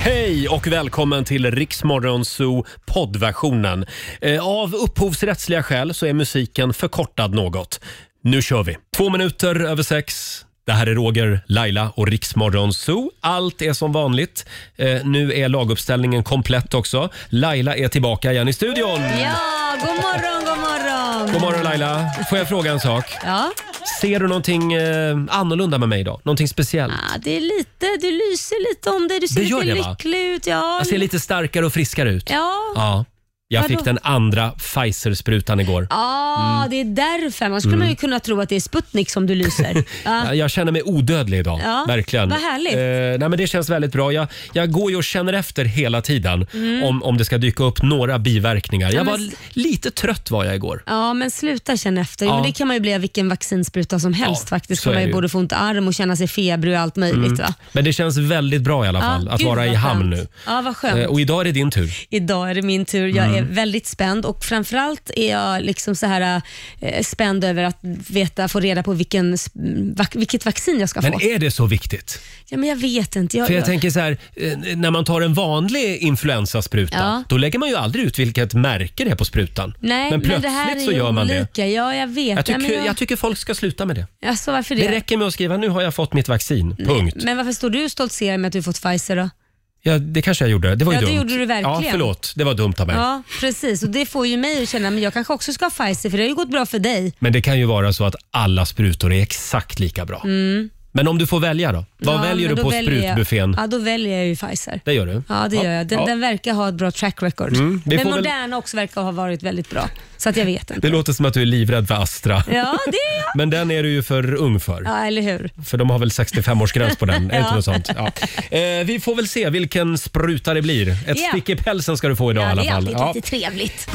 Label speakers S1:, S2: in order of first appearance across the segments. S1: Hej och välkommen till Riksmorgon Zoo poddversionen. Eh, Av upphovsrättsliga skäl så är musiken förkortad något. Nu kör vi! Två minuter över sex. Det här är Roger, Laila och Riksmorgon Zoo. Allt är som vanligt. Eh, nu är laguppställningen komplett också. Laila är tillbaka igen i studion.
S2: Ja, god morgon, god morgon.
S1: God morgon Laila! Får jag fråga en sak?
S2: Ja,
S1: Ser du någonting eh, annorlunda med mig idag? Någonting speciellt?
S2: ah, det är lite, du lyser lite om dig. Du ser
S1: Det gör
S2: lite
S1: jag, va?
S2: lycklig ut. Ja,
S1: Jag ser lite starkare och friskare ut.
S2: ja.
S1: Ja.
S2: ja.
S1: Jag
S2: Vadå?
S1: fick den andra Pfizer-sprutan igår. Mm.
S2: det är därför. Man skulle man ju kunna tro att det är Sputnik som du lyser. Ja.
S1: Jag- Jag känner mig odödlig idag.
S2: Ja,
S1: Verkligen.
S2: vad härligt.
S1: Eh, nej, men det känns väldigt bra. Jag, jag går ju och känner efter hela tiden om, om det ska dyka upp några biverkningar. Jag
S2: Mm. men
S1: var
S2: s-
S1: l- lite trött var jag igår.
S2: ja, men sluta känna efter. Jo,
S1: Ja.
S2: Men det kan man ju bli av vilken vaccinspruta som helst
S1: Ja,
S2: faktiskt.
S1: så
S2: Kan
S1: är
S2: man
S1: det
S2: ju
S1: ju.
S2: både få ont i arm och känna sig febrig och allt möjligt. Va?
S1: Men det känns väldigt bra i alla fall att
S2: gud,
S1: vara i
S2: vad
S1: hamn nu.
S2: skönt. Ja, vad skönt.
S1: Eh, Och idag är det din tur.
S2: Idag är det min tur. Jag
S1: Mm.
S2: är väldigt spänd och framförallt är jag liksom så här, eh, spänd över att veta, få reda på vilken, s- vac- vilket vaccin jag ska
S1: Men
S2: få.
S1: är det så viktigt?
S2: Ja, men jag vet inte. Jag,
S1: För jag
S2: jag-
S1: tänker så här, eh, när man tar en vanlig influensaspruta,
S2: Ja.
S1: då lägger man ju aldrig ut vilket märke det är på sprutan.
S2: Nej,
S1: men plötsligt
S2: det här är
S1: så
S2: ju
S1: gör man det.
S2: olika. Ja, jag vet.
S1: Jag
S2: Ja,
S1: tycker,
S2: men
S1: jag... tycker folk ska sluta med det.
S2: alltså, varför det?
S1: Det räcker med att skriva nu har jag fått mitt vaccin. Punkt.
S2: Men varför står du och stoltserar med att du fått Pfizer då?
S1: Ja, det kanske jag gjorde. Det var ju
S2: Ja, det
S1: dumt.
S2: gjorde du verkligen.
S1: Ja, förlåt. Det var dumt av mig.
S2: Ja, precis. Och Det får ju mig att känna, men jag kanske också ska ha Pfizer för det har ju gått bra för dig.
S1: Men det kan ju vara så att alla sprutor är exakt lika bra. Men om du får välja då? Vad
S2: Mm. ja,
S1: väljer
S2: men
S1: du
S2: då
S1: på
S2: väljer jag-
S1: sprutbuffén?
S2: Ja, då väljer jag ju Pfizer.
S1: Det gör du?
S2: Ja, det gör jag. Den, den verkar ha ett bra track record.
S1: Mm. vi
S2: Men
S1: får väl-
S2: Moderna också verkar ha varit väldigt bra. Så att jag vet inte.
S1: Det låter som att du är livrädd för Astra.
S2: Ja, det är jag.
S1: Men den är du ju för ung för.
S2: Ja, eller hur?
S1: För de har väl 65-årsgräns på den? Är inte
S2: Ja.
S1: något sånt? Ja. Eh, vi får väl se vilken spruta det blir. Ett
S2: Ja.
S1: stick i pälsen ska du få idag i
S2: Ja,
S1: alla
S2: det är
S1: fall.
S2: alltid
S1: Ja.
S2: lite trevligt.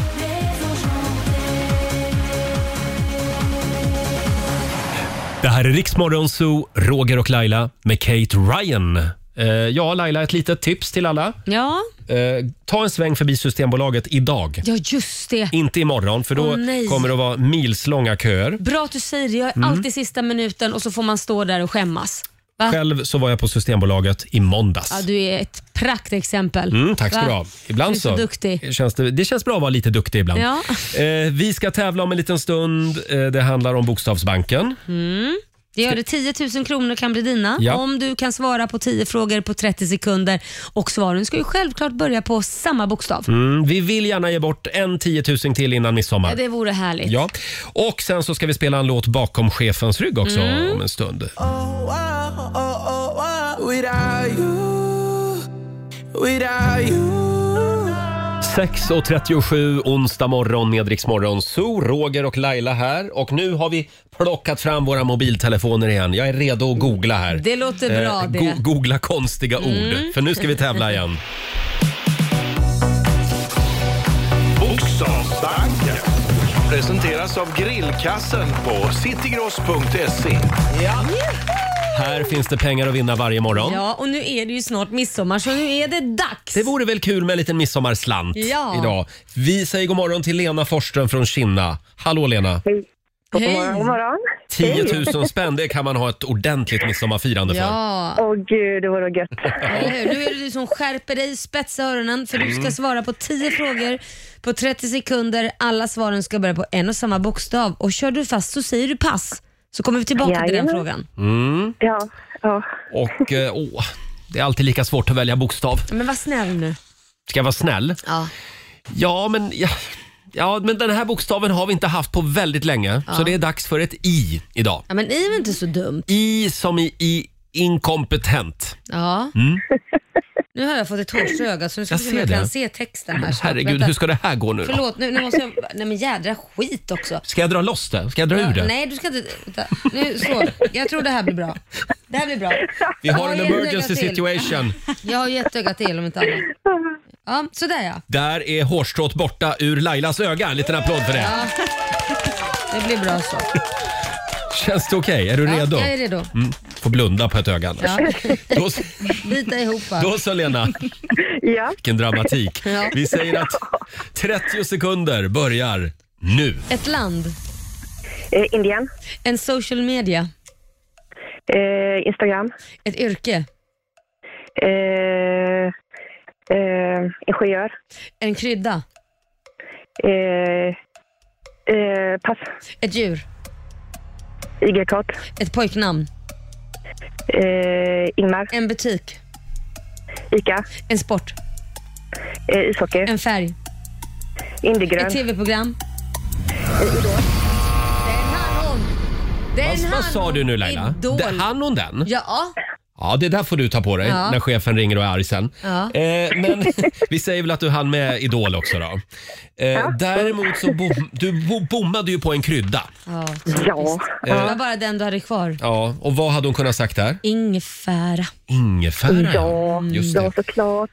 S1: Det här är Riksmorgon Zoo, Roger och Laila med Kate Ryan. Eh, ja, Laila, ett litet tips till alla.
S2: Ja,
S1: Eh, ta en sväng förbi Systembolaget idag.
S2: ja just det.
S1: Inte imorgon, för då
S2: Åh, nej.
S1: kommer det att vara milslånga köer.
S2: Bra att du säger det. Jag
S1: Mm.
S2: är alltid sista minuten och så får man stå där och skämmas. Va?
S1: Själv så var jag på Systembolaget i måndags.
S2: Ja, du är ett praktexempel.
S1: Mm, tack ska
S2: Va?
S1: du ha. Ibland
S2: Du är så duktig.
S1: Känns det, det känns bra att vara lite duktig ibland.
S2: Ja.
S1: Eh, vi ska tävla om en liten stund. Eh, det handlar om
S2: Mm.
S1: Bokstavsbanken.
S2: Det gör det. 10 000 kronor kan bli dina
S1: Ja.
S2: om du kan svara på 10 frågor på 30 sekunder. Och svaren ska ju självklart börja på samma bokstav.
S1: Mm, vi vill gärna ge bort en 10 000 till innan midsommar.
S2: Ja, Det vore härligt.
S1: Ja. Och sen så ska vi spela en låt bakom chefens rygg också
S2: Mm.
S1: om en stund.
S3: Without you, without you
S1: 6.37 onsdag morgon med Rix Morgon Zoo, Roger och Laila här. Och nu har vi plockat fram våra mobiltelefoner igen. Jag är redo att googla här.
S2: Det låter bra
S1: Eh,
S2: det. Mm.
S1: go- googla konstiga ord, för nu ska vi tävla igen.
S4: Bokstavsbanken presenteras av grillkassen på citygross.se.
S1: Här finns det pengar att vinna varje morgon.
S2: Ja, och nu är det ju snart midsommar så nu är det dags.
S1: Det vore väl kul med en liten midsommarslant
S2: Ja.
S1: idag. Vi säger god morgon till Lena Forsström från Kinna. Hallå Lena!
S5: God
S2: Hej!
S5: morgon.
S1: 10 000 spänn, det kan man ha ett ordentligt midsommarfirande för.
S2: Ja,
S5: Åh gud, det vore gött.
S2: eller hur? Nu är det du som skärper dig, spetsa öronen för du
S1: Mm.
S2: ska svara på 10 frågor på 30 sekunder. Alla svaren ska börja på en och samma bokstav och kör du fast så säger du pass. Så kommer vi tillbaka till den
S5: Jajamän.
S2: frågan.
S5: Ja, ja.
S1: Och eh, åh, det är alltid lika svårt att välja bokstav.
S2: Men var snäll nu.
S1: Ska jag vara snäll?
S2: Ja.
S1: Ja, men... Ja. Ja, men den här bokstaven har vi inte haft på väldigt länge, så det är dags för ett I idag.
S2: ja men är väl inte så dumt?
S1: I som i, i inkompetent.
S2: Ja. Nu har jag fått ett hårt öga så nu ska
S1: Mm. Jag
S2: vi se om jag
S1: ser det.
S2: kan se texten här. snart.
S1: Herregud,
S2: Vänta.
S1: hur ska det här gå nu då?
S2: Förlåt, nu, nu måste jag... Nej men jädra skit också.
S1: Ska jag dra loss det? Ska jag dra ur det?
S2: Nej, du ska inte... Vänta. Nu, så. Jag tror det här blir bra. Det här blir bra.
S1: Vi har en
S2: Ja, jag lägger
S1: emergency
S2: till.
S1: situation.
S2: Jag har gett ögat till om inte annat. Ja, sådär ja.
S1: Där är hårstrået borta ur Lailas öga. En liten applåd för det.
S2: Det blir bra så.
S1: Känns det okej? Är du
S2: Ja,
S1: redo?
S2: jag är redo.
S1: Mm, får blunda på ett öga annars.
S2: Ja.
S1: Då,
S2: Bita ihop va.
S1: då så Lena,
S5: ja.
S1: vilken dramatik.
S2: Ja.
S1: Vi säger att 30 sekunder börjar nu.
S2: Ett land.
S5: Eh, Indien.
S2: En social media.
S5: Eh, Instagram.
S2: Ett yrke.
S5: Eh, Eh, ingenjör.
S2: En krydda.
S5: Eh, eh, pass.
S2: Ett djur.
S5: Igelkott.
S2: Ett pojknamn.
S5: Eh, Ingmar.
S2: En butik.
S5: Ica.
S2: En sport.
S5: Eh, ishockey.
S2: En färg.
S5: Indigrön.
S2: Ett tv-program. Den hann hon. Den
S1: Vad,
S2: hann
S1: vad sa
S2: hon.
S1: du nu Laila?
S2: Idol.
S1: Det- Hann hon den?
S2: Ja.
S1: Ja, det där får du ta på dig
S2: Ja.
S1: när chefen ringer och är arg sen.
S2: Ja.
S1: Eh, men vi säger väl att du hann med Idol också då. Eh, Däremot så bom, du bo, bommade ju på en krydda.
S2: ja.
S5: Ja.
S2: Det
S1: Eh.
S2: var bara den du hade kvar.
S1: Ja, och vad hade hon kunnat sagt där?
S2: Ingefära.
S1: Ingefära
S5: Ja,
S1: Just det.
S5: ja såklart.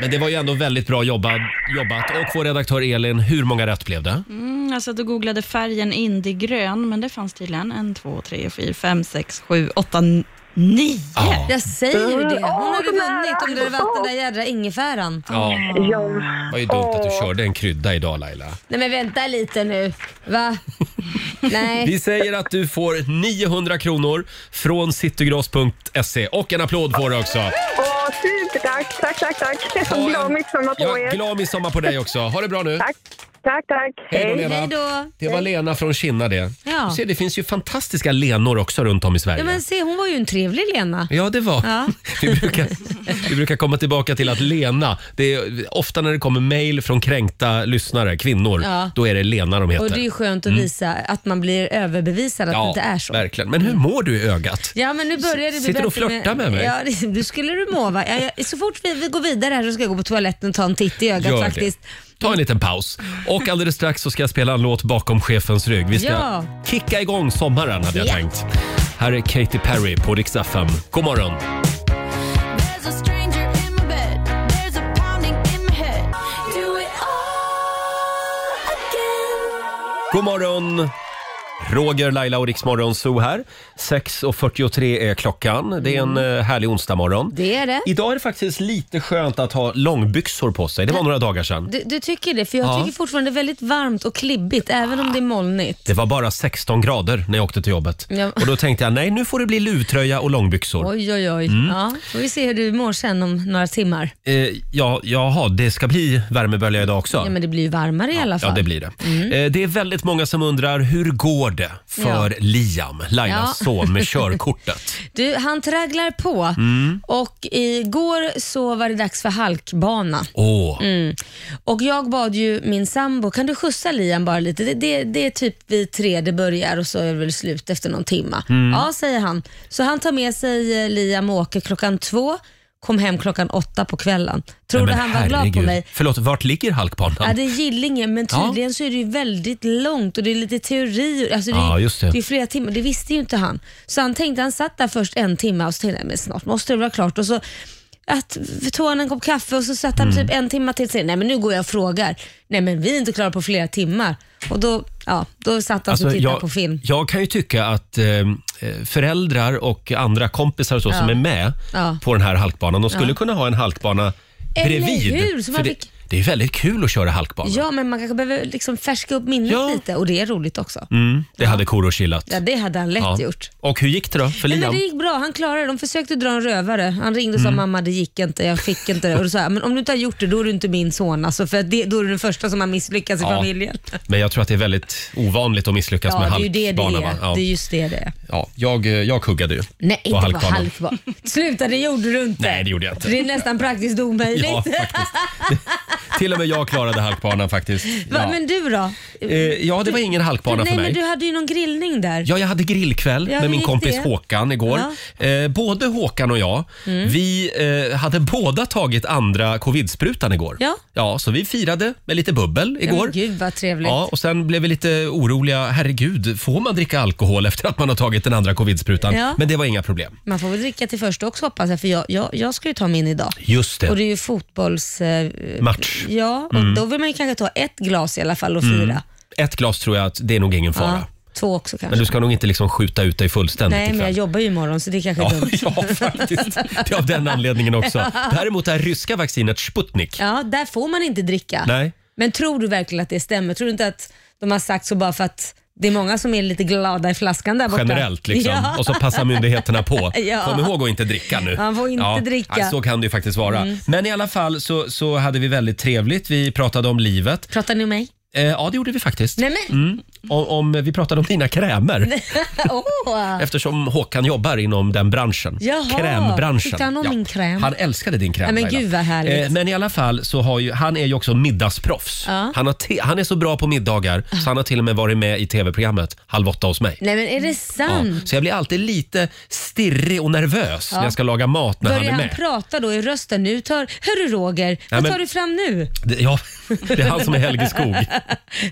S1: Men det var ju ändå väldigt bra jobbat. jobbat. Och vår redaktör Elin, hur många rätt blev det?
S6: Mm, jag satt och googlade färgen indigrön, men det fanns tydligen en, två, tre, fyra, fem, sex, sju, åtta, n- nio.
S1: Ja.
S2: Jag säger ju det. Hon
S5: Åh,
S2: hade
S5: så nära.
S2: vunnit om det hade varit den där jädra ingefäran.
S1: ja.
S5: Ja.
S1: Det var ju dumt att du körde en krydda idag Laila.
S2: Nej men vänta lite nu. Va? Nej.
S1: Vi säger att du får 900 kronor från citygross.se och en applåd får du också.
S5: Åh, supertack. Tack, tack, tack. Glad midsommar på
S1: Ja,
S5: er.
S1: glad midsommar på dig också. Ha det bra nu.
S5: Tack, tack, tack.
S1: då,
S5: Hej.
S1: Lena.
S2: Hej då.
S1: Det var Lena från Kinna det.
S2: Ja.
S1: Du ser, det finns ju fantastiska Lenor också runt om i Sverige.
S2: Ja, men se, hon var ju en trevlig Lena.
S1: Ja, det var.
S2: Ja.
S1: Vi, brukar, vi brukar komma tillbaka till att Lena, det är, ofta när det kommer mejl från kränkta lyssnare, kvinnor,
S2: Ja.
S1: då är det Lena de heter.
S2: Och det är ju skönt att visa att man blir överbevisad att det inte är så.
S1: Mm. verkligen. Men hur mår du i ögat?
S2: Ja men nu börjar det bli
S1: Sitter du och
S2: bättre
S1: flörtar med mig?
S2: Ja, det, du skulle du må va? Ja, jag, så fort vi, vi går vidare här så ska jag gå på toaletten och ta en titt i ögat
S1: Gör det.
S2: faktiskt. Mm.
S1: Ta en liten paus. Och alldeles strax så ska jag spela en låt bakom chefens rygg. Vi ska
S2: Ja.
S1: kicka igång sommaren hade jag
S2: Ja.
S1: tänkt. Här är Katy Perry på Rix FM. God morgon!
S7: There's a stranger in my bed. There's a pounding in my head. Do it all again.
S1: God morgon! Roger, Laila och Riksmorgon Zoo här. 6.43 är klockan. Det är en
S2: Mm.
S1: eh, härlig onsdagmorgon.
S2: Det är det.
S1: Idag är det faktiskt lite skönt att ha långbyxor på sig. Det var några dagar sedan.
S2: Du, du tycker det? För jag
S1: Ja.
S2: tycker fortfarande det är väldigt varmt och klibbigt även om det är molnigt.
S1: Det var bara 16 grader när jag åkte till jobbet.
S2: Ja.
S1: Och då tänkte jag, nej nu får det bli luvtröja och långbyxor.
S2: Oj, oj, oj.
S1: Mm.
S2: Ja, får vi se hur du mår sen om några timmar.
S1: Eh, ja, jaha, det ska bli värmebölja idag också.
S2: Ja, men det Mm. blir ju varmare i alla fall.
S1: Ja, det blir det. Eh, det är väldigt många som undrar, hur går det för
S2: Ja.
S1: Liam, Lailas
S2: Ja.
S1: son, med körkortet?
S2: Du, han tragglar på
S1: Mm.
S2: och igår så var det dags för halkbana.
S1: Åh,
S2: Och jag bad ju min sambo, kan du skjutsa Liam bara lite? Det, det, det är typ vi tre det börjar och så är det väl slut efter någon timma.
S1: Mm.
S2: Ja, säger han. Så han tar med sig eh, Liam och åker klockan två, kom hem klockan åtta på kvällen.
S1: nej,
S2: Trodde
S1: men
S2: han var glad på
S1: herregud.
S2: mig.
S1: Förlåt, vart ligger
S2: Ja,
S1: halkbanan?
S2: det är Gillinge, men
S1: Ja.
S2: tydligen så är det ju väldigt långt och det är lite teori. Alltså det, är-
S1: Ja, just det.
S2: det är flera timmar, det visste ju inte han. Så han tänkte, han satt där först en timme och så tänkte jag, men snart måste det vara klart. Och så att, tog han en kopp kaffe och så satt han typ
S1: Mm.
S2: en timme till och sa, nej men nu går jag och frågar. Nej men vi är inte klara på flera timmar. Och då, ja, då satt han och tittade
S1: Alltså, jag,
S2: på film.
S1: jag kan ju tycka att eh, föräldrar och andra kompisar och så, som är med
S2: Ja.
S1: på den här halkbanan, de skulle kunna ha en halkbana
S2: Eller
S1: bredvid.
S2: hur? Så man
S1: För det,
S2: fick-
S1: det är väldigt kul att köra halkbana.
S2: Ja, men man kanske behöver liksom färska upp minnet
S1: Ja.
S2: lite och det är roligt också.
S1: Mm, det hade Korosh gillat.
S2: Ja, det hade han lätt
S1: Ja.
S2: gjort.
S1: Och hur gick det då för
S2: Nej, men
S1: Liam?
S2: det gick bra, han klarade det. De försökte dra en rövare. Han ringde
S1: Mm.
S2: och sa mamma det gick inte, jag fick inte det. Och då sa jag, men om du inte har gjort det då är du inte min son alltså, för att det, då är du den första som har misslyckats i
S1: Ja.
S2: familjen.
S1: Men jag tror att det är väldigt ovanligt att misslyckas
S2: Ja,
S1: med
S2: det är ju det det
S1: halkbana. va?
S2: är.
S1: Ja.
S2: Det är just det det är.
S1: Ja, jag, eh, jag kuggade ju.
S2: Nej, inte på
S1: halkbanan.
S2: halkbanan. Sluta, det gjorde du inte.
S1: Nej, det gjorde jag inte.
S2: Det är nästan praktiskt omöjligt.
S1: Ja, faktiskt. Till och med jag klarade halkbanan faktiskt.
S2: Va,
S1: Ja.
S2: Men du då?
S1: Eh, ja, det var ingen halkbana
S2: Nej,
S1: för mig.
S2: men du hade ju någon grillning där.
S1: Ja, jag hade grillkväll
S2: Ja, hur
S1: med min
S2: gick
S1: kompis
S2: det? Mm.
S1: Håkan igår. Eh, både Håkan och jag, vi eh, hade båda tagit andra covid-sprutan igår.
S2: Ja.
S1: ja, så vi firade med lite bubbel
S2: Ja, men
S1: igår.
S2: Gud vad trevligt.
S1: Ja, och sen blev vi lite oroliga. Herregud, får man dricka alkohol efter att man har tagit den andra covid-sprutan?
S2: Ja.
S1: Men det var inga problem.
S2: Man får väl dricka till första också hoppas jag, för jag, jag, jag ska ju ta min idag.
S1: Just
S2: Och det
S1: det.
S2: är ju fotbolls... eh,
S1: Match.
S2: Ja, och
S1: Mm.
S2: då vill man ju kanske ta ett glas i alla fall och fira.
S1: Ett glas tror jag att det är nog ingen fara.
S2: Ja, två också kanske.
S1: Mm. Men du ska nog inte liksom skjuta ut dig fullständigt
S2: Nej, men
S1: ikväll.
S2: jag jobbar ju imorgon så det kanske är
S1: Ja,
S2: dumt.
S1: ja, faktiskt. Det är av den anledningen också. Däremot det här ryska vaccinet Sputnik.
S2: Ja, där får man inte dricka.
S1: Nej.
S2: Men tror du verkligen att det stämmer? Tror du inte att de har sagt så bara för att Det är många som är lite glada i flaskan där borta.
S1: Generellt liksom.
S2: Ja.
S1: Och så passar myndigheterna på.
S2: Ja.
S1: Kom ihåg att inte dricka nu.
S2: Man får inte dricka. Mm.
S1: nej, Så kan det ju faktiskt vara. Men i alla fall så, så hade vi väldigt trevligt. Vi pratade om livet.
S2: Pratar ni om mig?
S1: Eh, ja, det gjorde vi faktiskt. Mm.
S2: Nej men,
S1: Om, om, vi pratade om dina krämer
S2: åh!
S1: eftersom Håkan jobbar inom den branschen.
S2: Jaha,
S1: Krämbranschen.
S2: tyckte han om min kräm?
S1: Han älskade din kräm.
S2: Nej, men
S1: Laila. Eh,
S2: gud vad härligt.
S1: men i alla fall så har ju, han är ju också middagsproffs.
S2: Ja.
S1: Han, har te- han är så bra på middagar så han har till och med varit med i tv-programmet Halv åtta hos mig.
S2: Nej men är det
S1: Ja,
S2: sant?
S1: så jag blir alltid lite stirrig och nervös när jag ska laga mat när han
S2: Börjar
S1: är
S2: han,
S1: med.
S2: prata då i rösten nu? Tar, Hörru Roger, vad
S1: men-
S2: tar du fram nu?
S1: Det- ja, det är han som är Helge Skog.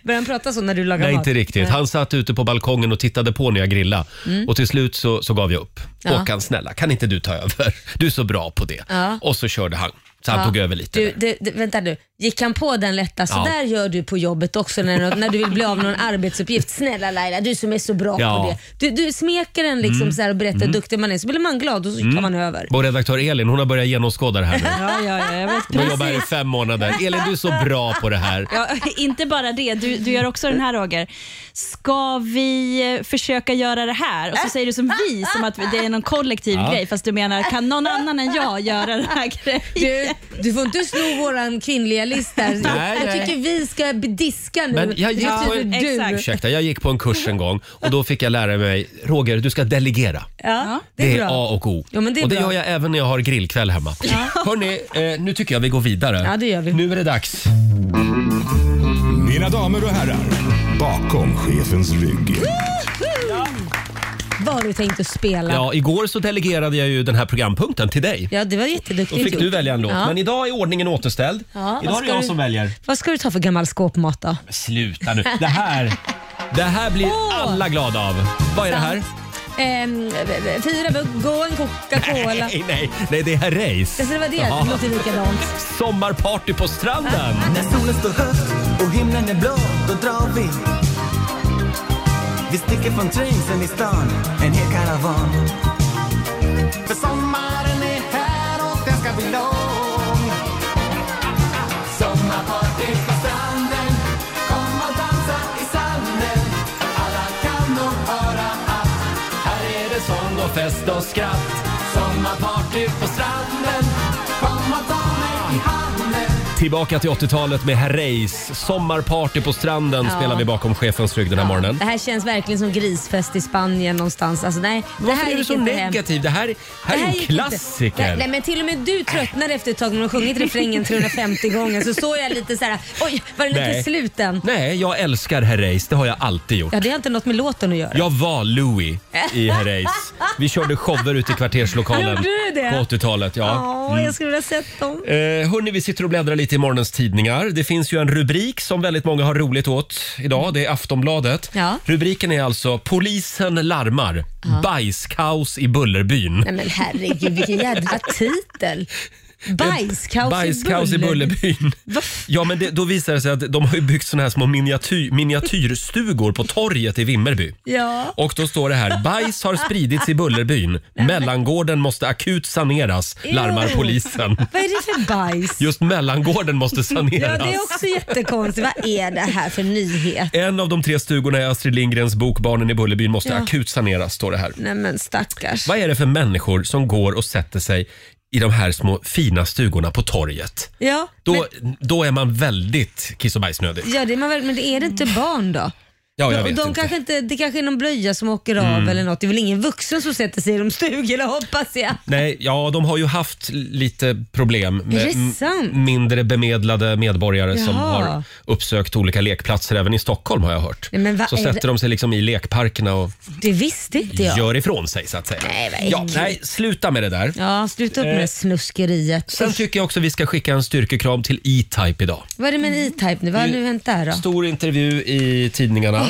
S2: Börjar han prata så när du lagar
S1: Nej,
S2: mat?
S1: inte riktigt. Han satt ute på balkongen och tittade på när jag grillade. Och till slut så, så gav jag upp.
S2: Mm. Ja.
S1: Håkan, snälla, kan inte du ta över? Du är så bra på det.
S2: Ja.
S1: Och så körde han. Så han
S2: Ja.
S1: tog över lite.
S2: Du,
S1: där.
S2: det, det, vänta nu, gick han på den lätta? Så
S1: Ja.
S2: där gör du på jobbet också när, när du vill bli av någon arbetsuppgift. Snälla Laila, du som är så bra
S1: Ja. Mm.
S2: på det. Du, du smeker en liksom så här och berättar hur duktig man är, så blir man glad och så tar man över.
S1: Vår redaktör Elin, hon har börjat genomskåda det här nu.
S6: Ja, ja, ja, jag vet
S1: Hon har jobbat här i fem månader. Elin, du är så bra på det här.
S6: Ja, inte bara det, du, du gör också den här Roger. Ska vi eh, försöka göra det här? Och så säger du som vi, som att det är någon kollektiv
S1: Ja.
S6: grej, fast du menar kan någon annan än jag göra den här grejen?
S2: Du, du får inte sno våran kvinnliga list där.
S1: Nej,
S2: jag
S1: nej.
S2: tycker vi ska diska nu.
S1: Men jag gick
S2: Det
S1: på
S2: betyder
S1: en-
S2: du.
S6: Exakt.
S1: Ursäkta, jag gick på en kurs en gång och då fick jag lära mig, Roger, du ska delegera.
S2: Ja,
S1: Det är,
S2: bra.
S1: A och O.
S2: Jo, men det är
S1: och det
S2: bra.
S1: gör jag även när jag har grillkväll hemma. Hörni, eh, nu tycker jag vi går vidare.
S2: Ja, det gör vi.
S1: Nu är det dags.
S8: Mina damer och herrar, bakom chefens rygg.
S2: Vad har du tänkt att spela? Ja,
S1: Ja, igår så delegerade jag ju den här programpunkten till dig.
S2: det var jätteduktigt
S1: Då fick du
S2: gjort.
S1: välja en låt.
S2: Ja.
S1: Men idag är ordningen återställd.
S2: Ja,
S1: idag
S2: vad
S1: är det
S2: ska
S1: jag
S2: du-
S1: som väljer.
S2: Vad ska du ta för gammal skåpmat då?
S1: Sluta nu. Det här, det här blir
S2: Åh!
S1: alla glada av. Vad är det här?
S2: Ehm, fyra bugg och en Coca-Cola.
S1: Nej, nej, nej, det är här race.
S2: Alltså det var det,
S1: Ja.
S2: det Ah. låter likadant.
S1: Sommarparty på stranden.
S9: När solen står högt och himlen är blå, då drar vi. Vi sticker från trängseln i stan, en hel karavan. För sommaren är här och den ska bli lång. Sommarparty på stranden, kom och dansa i sanden. Alla kan nog höra att här är det sång och fest och skratt. Sommarparty på stranden, kom och ta mig i handen.
S1: Tillbaka till 80-talet med Herr Race. Sommarparty på stranden
S2: Ja.
S1: spelar vi bakom chefens rygg den här morgonen.
S2: Det här känns verkligen som grisfest i Spanien någonstans. Alltså, nej, det
S1: Varför
S2: här
S1: är du
S2: gick
S1: så
S2: inte hem.
S1: negativ? Det här, här
S2: Det
S1: är
S2: gick
S1: en
S2: inte.
S1: klassiker.
S2: Nej, nej, men till och med du tröttnar efter ett tag när du har sjungit refrängen 350 gånger. Så såg jag lite så här, oj, var den
S1: Nej.
S2: inte slut än?
S1: Nej, jag älskar Herr Race. Det har jag alltid gjort.
S2: Ja, det har inte något med låten att göra.
S1: Jag var Louis i Herr Race. Vi körde shower ute i kvarterslokalen
S2: Gjorde du det?
S1: på 80-talet. Ja.
S2: Åh, jag skulle vilja sett dem.
S1: Eh, hörni, vi sitter och bläddrar lite i morgonens tidningar. Det finns ju en rubrik som väldigt många har roligt åt idag. Det är Aftonbladet.
S2: Ja.
S1: Rubriken är alltså “Polisen larmar. Bajskaos i Bullerbyn”.
S2: Nej men herregud, vilken jädra titel. Bajskaos,
S1: Bajskaos i Bullerbyn. Ja, men det, då visar det sig att de har ju byggt såna här små miniatyr, miniatyrstugor på torget i Vimmerby.
S2: Ja.
S1: Och då står det här, bajs har spridits i Bullerbyn. Mellangården måste akut saneras, larmar
S2: Ew.
S1: polisen.
S2: Vad är det för bajs?
S1: Just mellangården måste
S2: Ja,
S1: saneras.
S2: det är också jättekonstigt. Vad är det här för nyhet?
S1: En av de tre stugorna i Astrid Lindgrens bok Barnen i Bullerbyn måste
S2: Ja.
S1: akut saneras, står det här.
S2: Nej men stackars.
S1: Vad är det för människor som går och sätter sig i de här små fina stugorna på torget?
S2: Ja,
S1: Då,
S2: men,
S1: då är man väldigt kiss och bajsnödig.
S2: ja det är man väl, men det är det inte barn då?
S1: Ja, jag
S2: och
S1: vet inte.
S2: de
S1: Mm.
S2: Kanske inte. Det kanske är någon blöja som åker av eller något. Det är väl ingen vuxen som sätter sig i de stugorna hoppas jag.
S1: Nej, ja, de har ju haft lite problem
S2: Är
S1: med
S2: det
S1: m-
S2: sant?
S1: mindre bemedlade medborgare som
S2: Jaha.
S1: har uppsökt olika lekplatser. Även i Stockholm har jag hört.
S2: Nej, men vad
S1: så
S2: är
S1: sätter
S2: det-
S1: de sig liksom i lekparkerna och
S2: Det visste inte jag.
S1: gör ifrån sig så att säga.
S2: Nej, vad
S1: ja,
S2: äckligt.
S1: nej, sluta med det där.
S2: Ja, sluta upp med
S1: Eh.
S2: det snuskeriet.
S1: Sen tycker jag också vi ska skicka en styrkekram till E-Type idag.
S2: Vad är det med
S1: Mm.
S2: en E-Type nu? Vad har nu hänt där då?
S1: Stor intervju i tidningarna.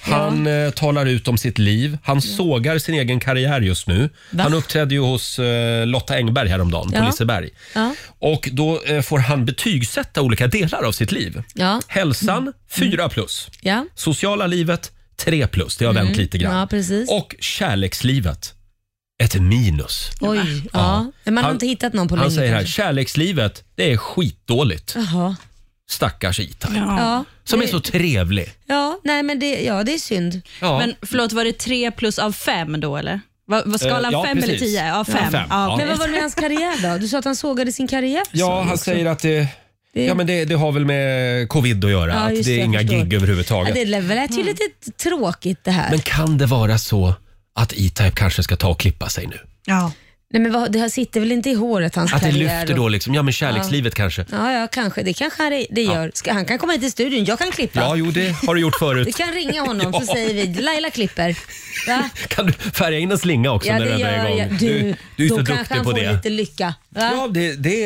S1: Han eh, talar ut om sitt liv. Han sågar sin egen karriär just nu.
S2: Va?
S1: Han uppträdde ju hos eh, Lotta Engberg häromdagen på
S2: Ja.
S1: Liseberg.
S2: Ja.
S1: Och då eh, får han betygsätta olika delar av sitt liv.
S2: Ja. Mm.
S1: Hälsan, 4 plus.
S2: Ja.
S1: Sociala livet, 3 plus. Det har vänt lite grann.
S2: Mm. Ja, precis.
S1: Och kärlekslivet, ett minus.
S2: Oj, ja. Men man har
S1: Han-
S2: inte hittat någon på
S1: Han
S2: länge.
S1: säger här,
S2: kanske.
S1: kärlekslivet, det är skitdåligt.
S2: Jaha.
S1: stackars Itai.
S2: Ja,
S1: Som
S2: det,
S1: är så trevlig.
S2: Ja, nej men det, ja, det är synd.
S1: Ja.
S6: Men förlåt, var det tre plus av fem då eller? Var, var skalan
S1: Eh, ja,
S6: fem eller
S1: precis.
S6: tio? Av fem.
S1: fem. Ja.
S2: Men vad var det med hans karriär då? Du sa att han sågade sin karriär. sa
S1: Ja,
S2: du
S1: han
S2: också.
S1: säger att det, ja, men det, det har väl med covid att göra.
S2: Ja,
S1: att
S2: just
S1: det är
S2: det, jag
S1: inga
S2: förstår.
S1: gig
S2: Ja,
S1: överhuvudtaget.
S2: det lät ju lite t- tråkigt det här.
S1: Mm. Men kan det vara så att E-Type kanske ska ta och klippa sig nu?
S6: Ja.
S2: nej, men vad, det här sitter väl inte i håret, hans
S1: Att det
S2: karriär?
S1: lyfter
S2: och-
S1: då liksom, ja men kärlekslivet kanske.
S2: Ja, ja, kanske. Det kanske han- det gör. Ska, han kan komma hit till studion. Jag kan klippa.
S1: Ja, jo det har du gjort
S2: Vi
S1: förut.
S2: kan ringa honom så
S1: Ja.
S2: säger vi Laila klipper. Va?
S1: Kan du färga in en slinga också
S2: Ja,
S1: när
S2: det
S1: den är
S2: gör
S1: igång?
S2: jag.
S1: du, du är
S2: då
S1: så
S2: kanske
S1: duktig
S2: han
S1: på
S2: får
S1: det.
S2: lite lycka. Va?
S1: Ja, det, det,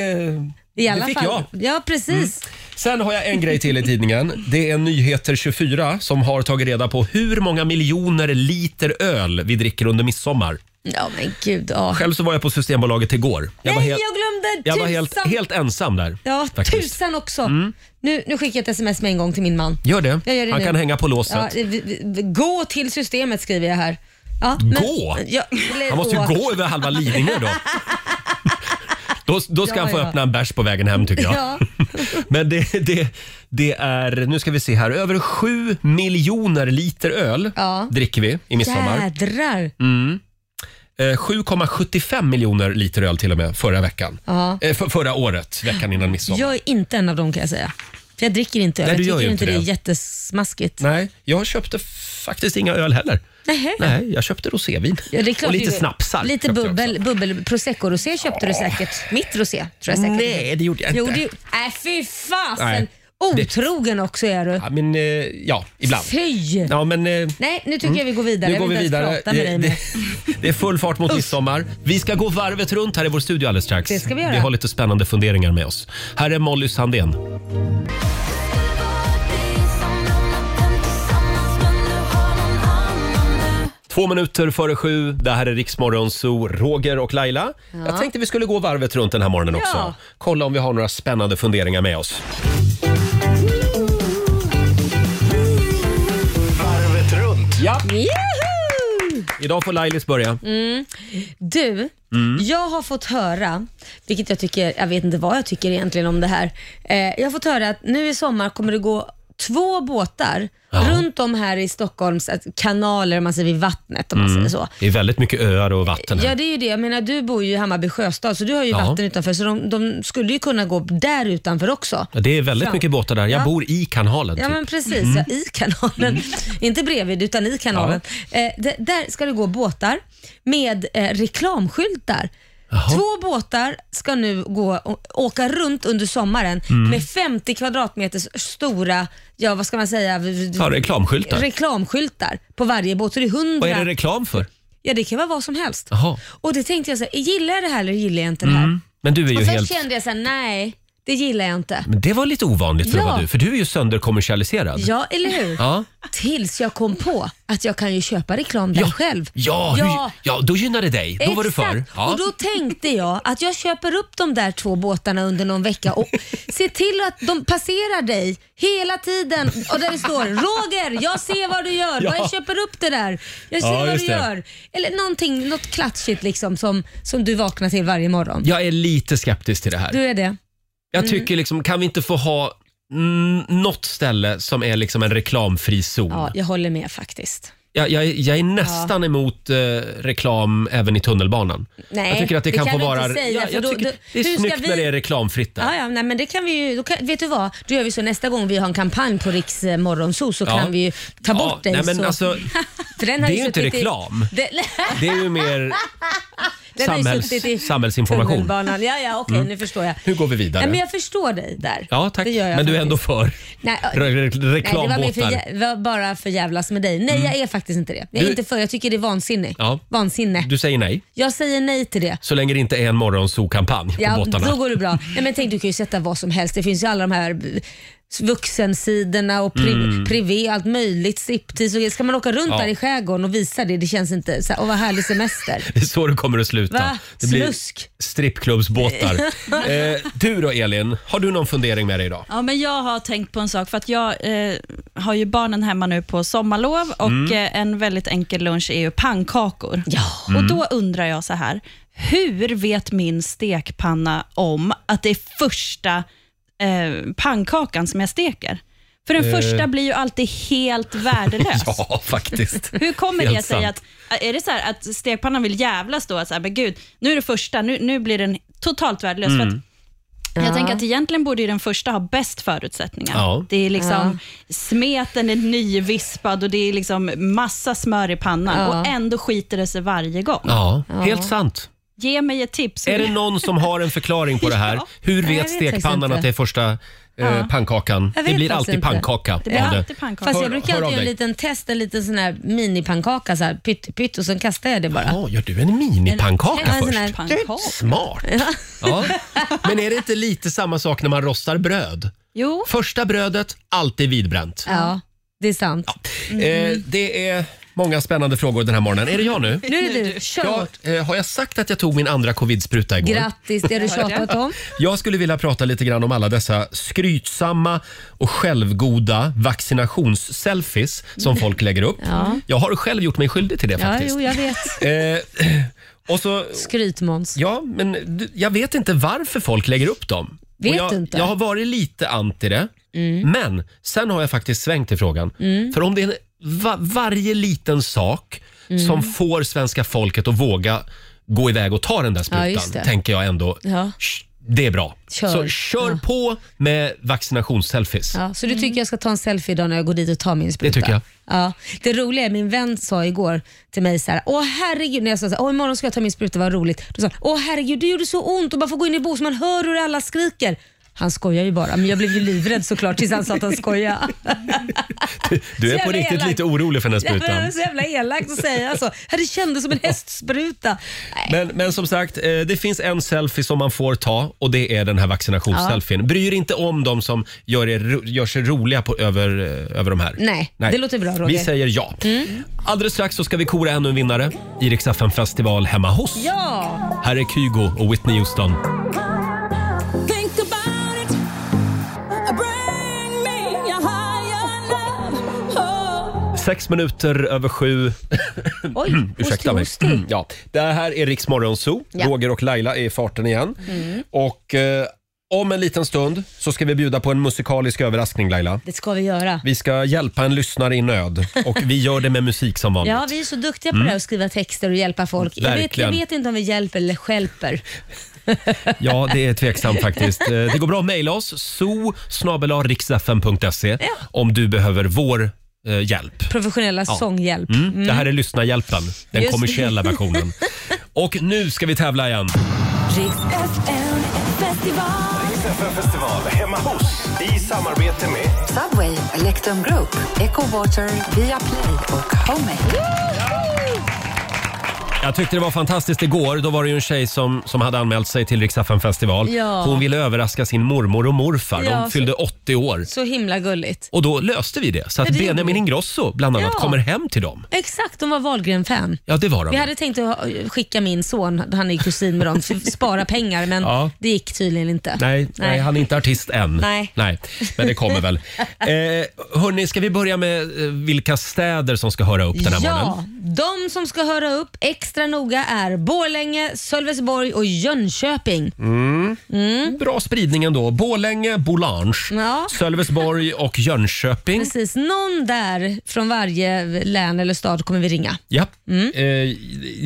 S2: I alla
S1: det fick
S2: fall.
S1: jag. Mm.
S2: Ja, precis.
S1: Sen har jag en grej till i tidningen. Det är Nyheter24 som har tagit reda på hur många miljoner liter öl vi dricker under midsommar.
S2: Ja, men gud. Ja.
S1: Själv så var jag på Systembolaget igår. Jag var
S2: Nej,
S1: helt,
S2: jag glömde
S1: jag
S2: tusan.
S1: var helt, helt ensam där.
S2: ja,
S1: faktiskt. Mm.
S2: tusan också. Nu, nu skickar jag ett sms med en gång till min man.
S1: Gör det.
S2: Jag gör det
S1: Han
S2: nu.
S1: kan hänga på låset.
S2: Ja, vi- vi- vi- gå till systemet skriver jag här. Ja, men-
S1: Gå?
S2: Ja, eller
S1: Han måste ju
S2: åk.
S1: gå över halva Lidingö då. Då, då ska
S2: Ja,
S1: han få
S2: ja.
S1: öppna en bärs på vägen hem tycker jag.
S2: Ja.
S1: Men det, det, det är, nu ska vi se här, över 7 miljoner liter öl
S2: Ja.
S1: dricker vi i Mm. midsommar.
S2: Jädrar.
S1: Eh, 7,75 miljoner liter öl till och med förra veckan.
S2: Ja.
S1: Eh, för, förra året, veckan innan midsommar.
S2: Jag är inte en av dem kan jag säga. För jag dricker inte öl.
S1: Nej,
S2: Jag
S1: du gör
S2: tycker
S1: ju
S2: inte
S1: inte
S2: det är
S1: det.
S2: jättesmaskigt.
S1: Nej, jag köpte faktiskt inga öl heller.
S2: Nähä.
S1: Nej, jag köpte rosévin.
S2: Ja, det är klart
S1: och lite
S2: du-
S1: snapsar.
S2: Lite
S1: köpte jag
S2: bubbel,
S1: också.
S2: bubbel prosecco-rosé köpte du säkert. Mitt rosé tror jag säkert.
S1: Nej, det gjorde jag
S2: Jo,
S1: inte.
S2: du, äh, fy fasen.
S1: Nej.
S2: Otrogen också är du.
S1: Ja, men, eh, ja, ibland.
S2: Fy.
S1: Ja, men, eh,
S2: Nej, nu tycker jag vi går vidare.
S1: Nu går vi
S2: jag vill inte
S1: vidare.
S2: ens prata med
S1: det,
S2: dig mer.
S1: det- det är full fart mot midsommar. Vi ska gå varvet runt här i vår studio alldeles strax.
S2: Det ska vi göra.
S1: har lite spännande funderingar med oss. Här är Molly Sandén. Två minuter före sju. Det här är Riksmorgon Zoo, Roger och Laila. Jag tänkte vi skulle gå varvet runt den här morgonen också. Kolla om vi har några spännande funderingar med oss.
S4: Varvet runt.
S1: Ja.
S2: Juhu!
S1: Idag får Lailis börja.
S2: Mm. Du,
S1: Mm.
S2: jag har fått höra, vilket jag tycker, jag vet inte vad jag tycker egentligen om det här. Eh, jag har fått höra att nu i sommar kommer det gå två båtar runt om här i Stockholms att- kanaler, om man säger vid vattnet om man säger så.
S1: Det är väldigt mycket öar och vatten
S2: Ja
S1: Mm. här.
S2: det är ju det. Jag menar du bor ju i Hammarby sjöstad så du har ju
S1: Ja.
S2: vatten utanför så de, de skulle ju kunna gå där utanför också.
S1: Det är väldigt
S2: Fram.
S1: mycket båtar där. Jag
S2: Ja.
S1: bor i kanalen.
S2: Ja
S1: typ. Mm.
S2: men precis, ja, i kanalen. Inte bredvid utan i kanalen. Eh, d- där ska det gå båtar med eh, reklamskyltar. Två båtar ska nu gå och åka runt under sommaren
S1: Mm.
S2: med 50 kvadratmeter stora, ja vad ska man säga, v- v-
S1: Ja, reklamskyltar.
S2: reklamskyltar på varje båt. Så det är 100
S1: Vad är det reklam för?
S2: Ja det kan vara vad som helst.
S1: Jaha.
S2: Och det tänkte jag så här, gillar jag det här eller gillar jag inte det här?
S1: Men du är ju
S2: Och först
S1: helt...
S2: kände jag så här, nej, det gillar jag inte.
S1: Men det var lite ovanligt för att
S2: Ja.
S1: vara du, för du är ju sönderkommersialiserad.
S2: Ja, eller hur?
S1: Ja.
S2: Tills jag kom på att jag kan ju köpa reklam där
S1: Ja.
S2: själv.
S1: Ja,
S2: Ja.
S1: hur, ja, då gynnar det dig. Då var du för.
S2: Exakt.
S1: Ja.
S2: Och då tänkte jag att jag köper upp de där två båtarna under någon vecka och ser till att de passerar dig hela tiden. Och där det står “Roger, jag ser vad du gör.
S1: Ja.
S2: Jag köper upp det där. Jag ser
S1: Ja,
S2: vad
S1: just
S2: du
S1: det.
S2: gör”. Eller någonting, något klatschigt liksom som, som du vaknar till varje morgon.
S1: Jag är lite skeptisk till det här.
S2: Du mm. är det?
S1: Jag tycker liksom, kan vi inte få ha mm, något ställe som är liksom en reklamfri zon?
S2: Ja, jag håller med faktiskt.
S1: Jag, jag, är- jag är nästan emot eh, reklam även i tunnelbanan.
S2: Nej,
S1: jag tycker att det,
S2: det
S1: kan,
S2: kan
S1: få
S2: du
S1: vara...
S2: inte säga,
S1: ja,
S2: för
S1: jag
S2: då-
S1: tycker,
S2: då-
S1: det är
S2: hur ska
S1: snyggt när
S2: vi-
S1: det är reklamfritt där.
S2: Ja, ja, nej, men det kan vi ju, då kan, vet du vad? Då gör vi så nästa gång vi har en kampanj på Riks eh, morgonzoo så
S1: Ja.
S2: kan vi ju ta
S1: Ja,
S2: bort dig.
S1: nej, men
S2: så.
S1: alltså,
S2: För den har
S1: det är ju inte
S2: suttit i-
S1: reklam.
S2: Den,
S1: Det är ju mer
S2: den har ju
S1: samhälls,
S2: suttit i
S1: samhällsinformation.
S2: tunnelbanan. Ja, ja, okej, nu förstår jag.
S1: Nu går vi vidare.
S2: Nej, men jag förstår dig där.
S1: Ja, tack.
S2: Det gör jag
S1: Men du är ändå
S2: faktiskt.
S1: för
S2: Nej, ö-
S1: re- re-
S2: Nej, det var, mer för,
S1: reklambåtar. Mm.
S2: jä- var bara för jävlas med dig. Nej, jag är faktiskt inte det. Jag är
S1: Du-
S2: inte för, jag tycker det är vansinne.
S1: Ja.
S2: Vansinne.
S1: Du säger nej,
S2: Jag säger nej till det.
S1: så länge det inte är en morgonzoo-kampanj på
S2: Ja,
S1: båtarna.
S2: då går det bra. Nej, men tänk, du kan ju sätta vad som helst. Det finns ju alla de här eh, vuxensidorna och pri- privé, allt möjligt, striptease och grejer. Ska man åka runt
S1: Mm. Ja.
S2: där i skärgården och visa det? Det känns inte så här, åh vad härlig semester.
S1: Det är så det kommer att sluta.
S2: Va?
S1: Det blir
S2: Slusk.
S1: strippklubbsbåtar. eh, du då Elin, har du någon fundering med dig idag?
S6: Ja, men jag har tänkt på en sak, för att jag eh, har ju barnen hemma nu på sommarlov och
S1: Mm.
S6: eh, en väldigt enkel lunch är ju pannkakor. Och
S1: Mm.
S6: då undrar jag så här, hur vet min stekpanna om att det är första eh, pannkakan som jag steker. För den
S1: Eh.
S6: första blir ju alltid helt värdelös.
S1: Ja, faktiskt.
S6: Hur kommer
S1: Helt
S6: det sig
S1: sant.
S6: att, är det så här att stekpannan vill jävlas då? Att så här, men gud, nu är det första, nu, nu blir den totalt värdelös. För att
S1: Mm.
S6: jag tänker att egentligen borde ju den första ha bäst förutsättningar.
S1: Ja.
S6: Det är liksom smeten är nyvispad och det är liksom massa smör i pannan
S2: Ja.
S6: och ändå skiter det sig varje gång.
S1: Ja, helt sant.
S6: Ge mig ett tips.
S1: Är det någon som har en förklaring på det här?
S6: Ja.
S1: Hur
S2: Nej, jag
S1: vet
S2: vet faktiskt
S1: stekpannan
S2: inte.
S1: att det är första eh,
S6: Ja.
S1: pannkakan?
S2: Jag
S1: Det
S2: vet
S1: blir
S2: faktiskt
S1: alltid
S2: inte.
S1: pannkaka
S6: Det blir
S1: av det.
S6: alltid pannkaka.
S2: Fast
S1: Hör-
S2: jag brukar
S1: hör av
S2: alltid göra en
S1: dig.
S2: liten test, en liten sån här minipannkaka, så här, pytt, pytt, och sen kastar jag det bara.
S1: Ja, gör du en minipannkaka
S2: Ja, en sån
S1: först?
S2: här-
S6: Pannkaka.
S1: Smart! Ja. Men är det inte lite samma sak när man rostar bröd?
S6: Jo,
S1: Första brödet, alltid vidbränt.
S2: Ja, det är sant.
S1: Eh, det är många spännande frågor den här morgonen. Är det jag nu?
S2: Nu är det du, kör
S1: Ja,
S2: hårt.
S1: eh, har jag sagt att jag tog min andra covid-spruta igår?
S2: Grattis, det har du tjatat om.
S1: Jag skulle vilja prata lite grann om alla dessa skrytsamma och självgoda vaccinationsselfies som folk lägger upp.
S2: Ja.
S1: Jag har själv gjort mig skyldig till det
S2: Ja,
S1: faktiskt.
S2: jo, jag vet.
S1: Eh, och så,
S2: Skryt Måns.
S1: ja, men d- jag vet inte varför folk lägger upp dem.
S2: Vet
S1: Och jag,
S2: du inte? Mm.
S1: jag har varit lite anti det, men sen har jag faktiskt svängt i frågan. För om det är en, va, varje liten sak
S2: Mm.
S1: som får svenska folket att våga gå iväg och ta den där
S2: Ja,
S1: sprutan,
S2: just det.
S1: tänker jag ändå
S2: Ja.
S1: Sh- Det är bra.
S2: Kör.
S1: Så kör
S2: Ja.
S1: på med vaccinationsselfies.
S2: Ja, så du tycker jag ska ta en selfie idag när jag går dit och tar min spruta?
S1: tycker jag.
S2: Ja. Det roliga är, min vän sa igår till mig så här, åh herregud, när jag sa så här, åh imorgon ska jag ta min spruta, vad roligt. Då sa han, åh herregud, det gjorde så ont och bara få gå in i bås, man hör hur alla skriker. Han skojar ju bara, men jag blev ju livrädd såklart tills han sa att han skojade.
S1: Du är
S2: Så
S1: på
S2: jävla
S1: riktigt
S2: elak.
S1: lite orolig för den här
S2: Ja, men Det är
S1: sprutan.
S2: så jävla elakt att säga så. Ja, Det kändes som en hästspruta. Nej.
S1: Men, men som sagt, eh, det finns en selfie som man får ta och det är den här vaccinationsselfien. Bry er inte om de som gör, er, ro- gör sig roliga på, över, eh, över de här.
S2: Nej, det låter bra, Roger. Mm.
S1: Vi säger ja. Alldeles strax så ska vi kora ännu en vinnare i Rix FM festival hemma hos.
S2: Ja!
S1: Här är Kygo och Whitney Houston.
S7: Think about it. Bring me a higher love. Oh.
S1: Sex minuter över sju. Mm,
S2: Oj,
S1: Ursäkta mig.
S2: hostig, hostig.
S1: Ja, det här är Riks Morgonzoo.
S2: Ja. Mm.
S1: Roger och Laila är i farten igen. Och eh, om en liten stund så ska vi bjuda på en musikalisk överraskning Laila.
S2: Det ska vi göra.
S1: Vi ska hjälpa en lyssnare i nöd och vi gör det med musik som vanligt.
S2: Ja, vi är så duktiga på det här att skriva texter och hjälpa folk. Jag vet, jag
S1: Verkligen.
S2: vet inte om vi hjälper eller stjälper.
S1: Ja, det är tveksamt faktiskt. Eh, Det går bra att mejla oss, so E, om du behöver vår eh, hjälp.
S2: Professionella sånghjälp.
S1: Mm. Det här är Lyssnarhjälpen, den
S2: Just det.
S1: kommersiella versionen. Och nu ska vi tävla igen.
S7: Riks FM festival.
S4: festival hemma hos i samarbete med
S10: Subway, Electrum Group, Echo Water, Viaplay och Homemade.
S1: Jag tyckte det var fantastiskt igår. Då var det ju en tjej som, som hade anmält sig till Riksaffen festival.
S2: Ja.
S1: Hon ville överraska sin mormor och morfar.
S2: Ja,
S1: De
S2: så-
S1: fyllde 80 år.
S2: Så himla gulligt.
S1: Och då löste vi det. Så att
S2: Ja, det gjorde
S1: Benjamin
S2: vi.
S1: Ingrosso bland annat
S2: Ja.
S1: kommer hem till dem.
S2: Exakt, de var Wahlgren-fan.
S1: Ja, det var de.
S2: Vi hade tänkt att ha- skicka min son, han är ju kusin med dem, för att spara pengar men
S1: Ja.
S2: det gick tydligen inte.
S1: Nej, nej. han är inte artist än.
S2: Nej.
S1: men det kommer väl. Eh, hörni, ska vi börja med eh, vilka städer som ska höra upp den här
S2: Ja,
S1: morgonen?
S2: de som ska höra upp extra noga är Borlänge, Sölvesborg och Jönköping.
S1: Mm. Bra spridning ändå. Borlänge, Bolange,
S2: Ja.
S1: Sölvesborg och Jönköping.
S2: Precis, någon där från varje län eller stad kommer vi ringa.
S1: Ja. Eh,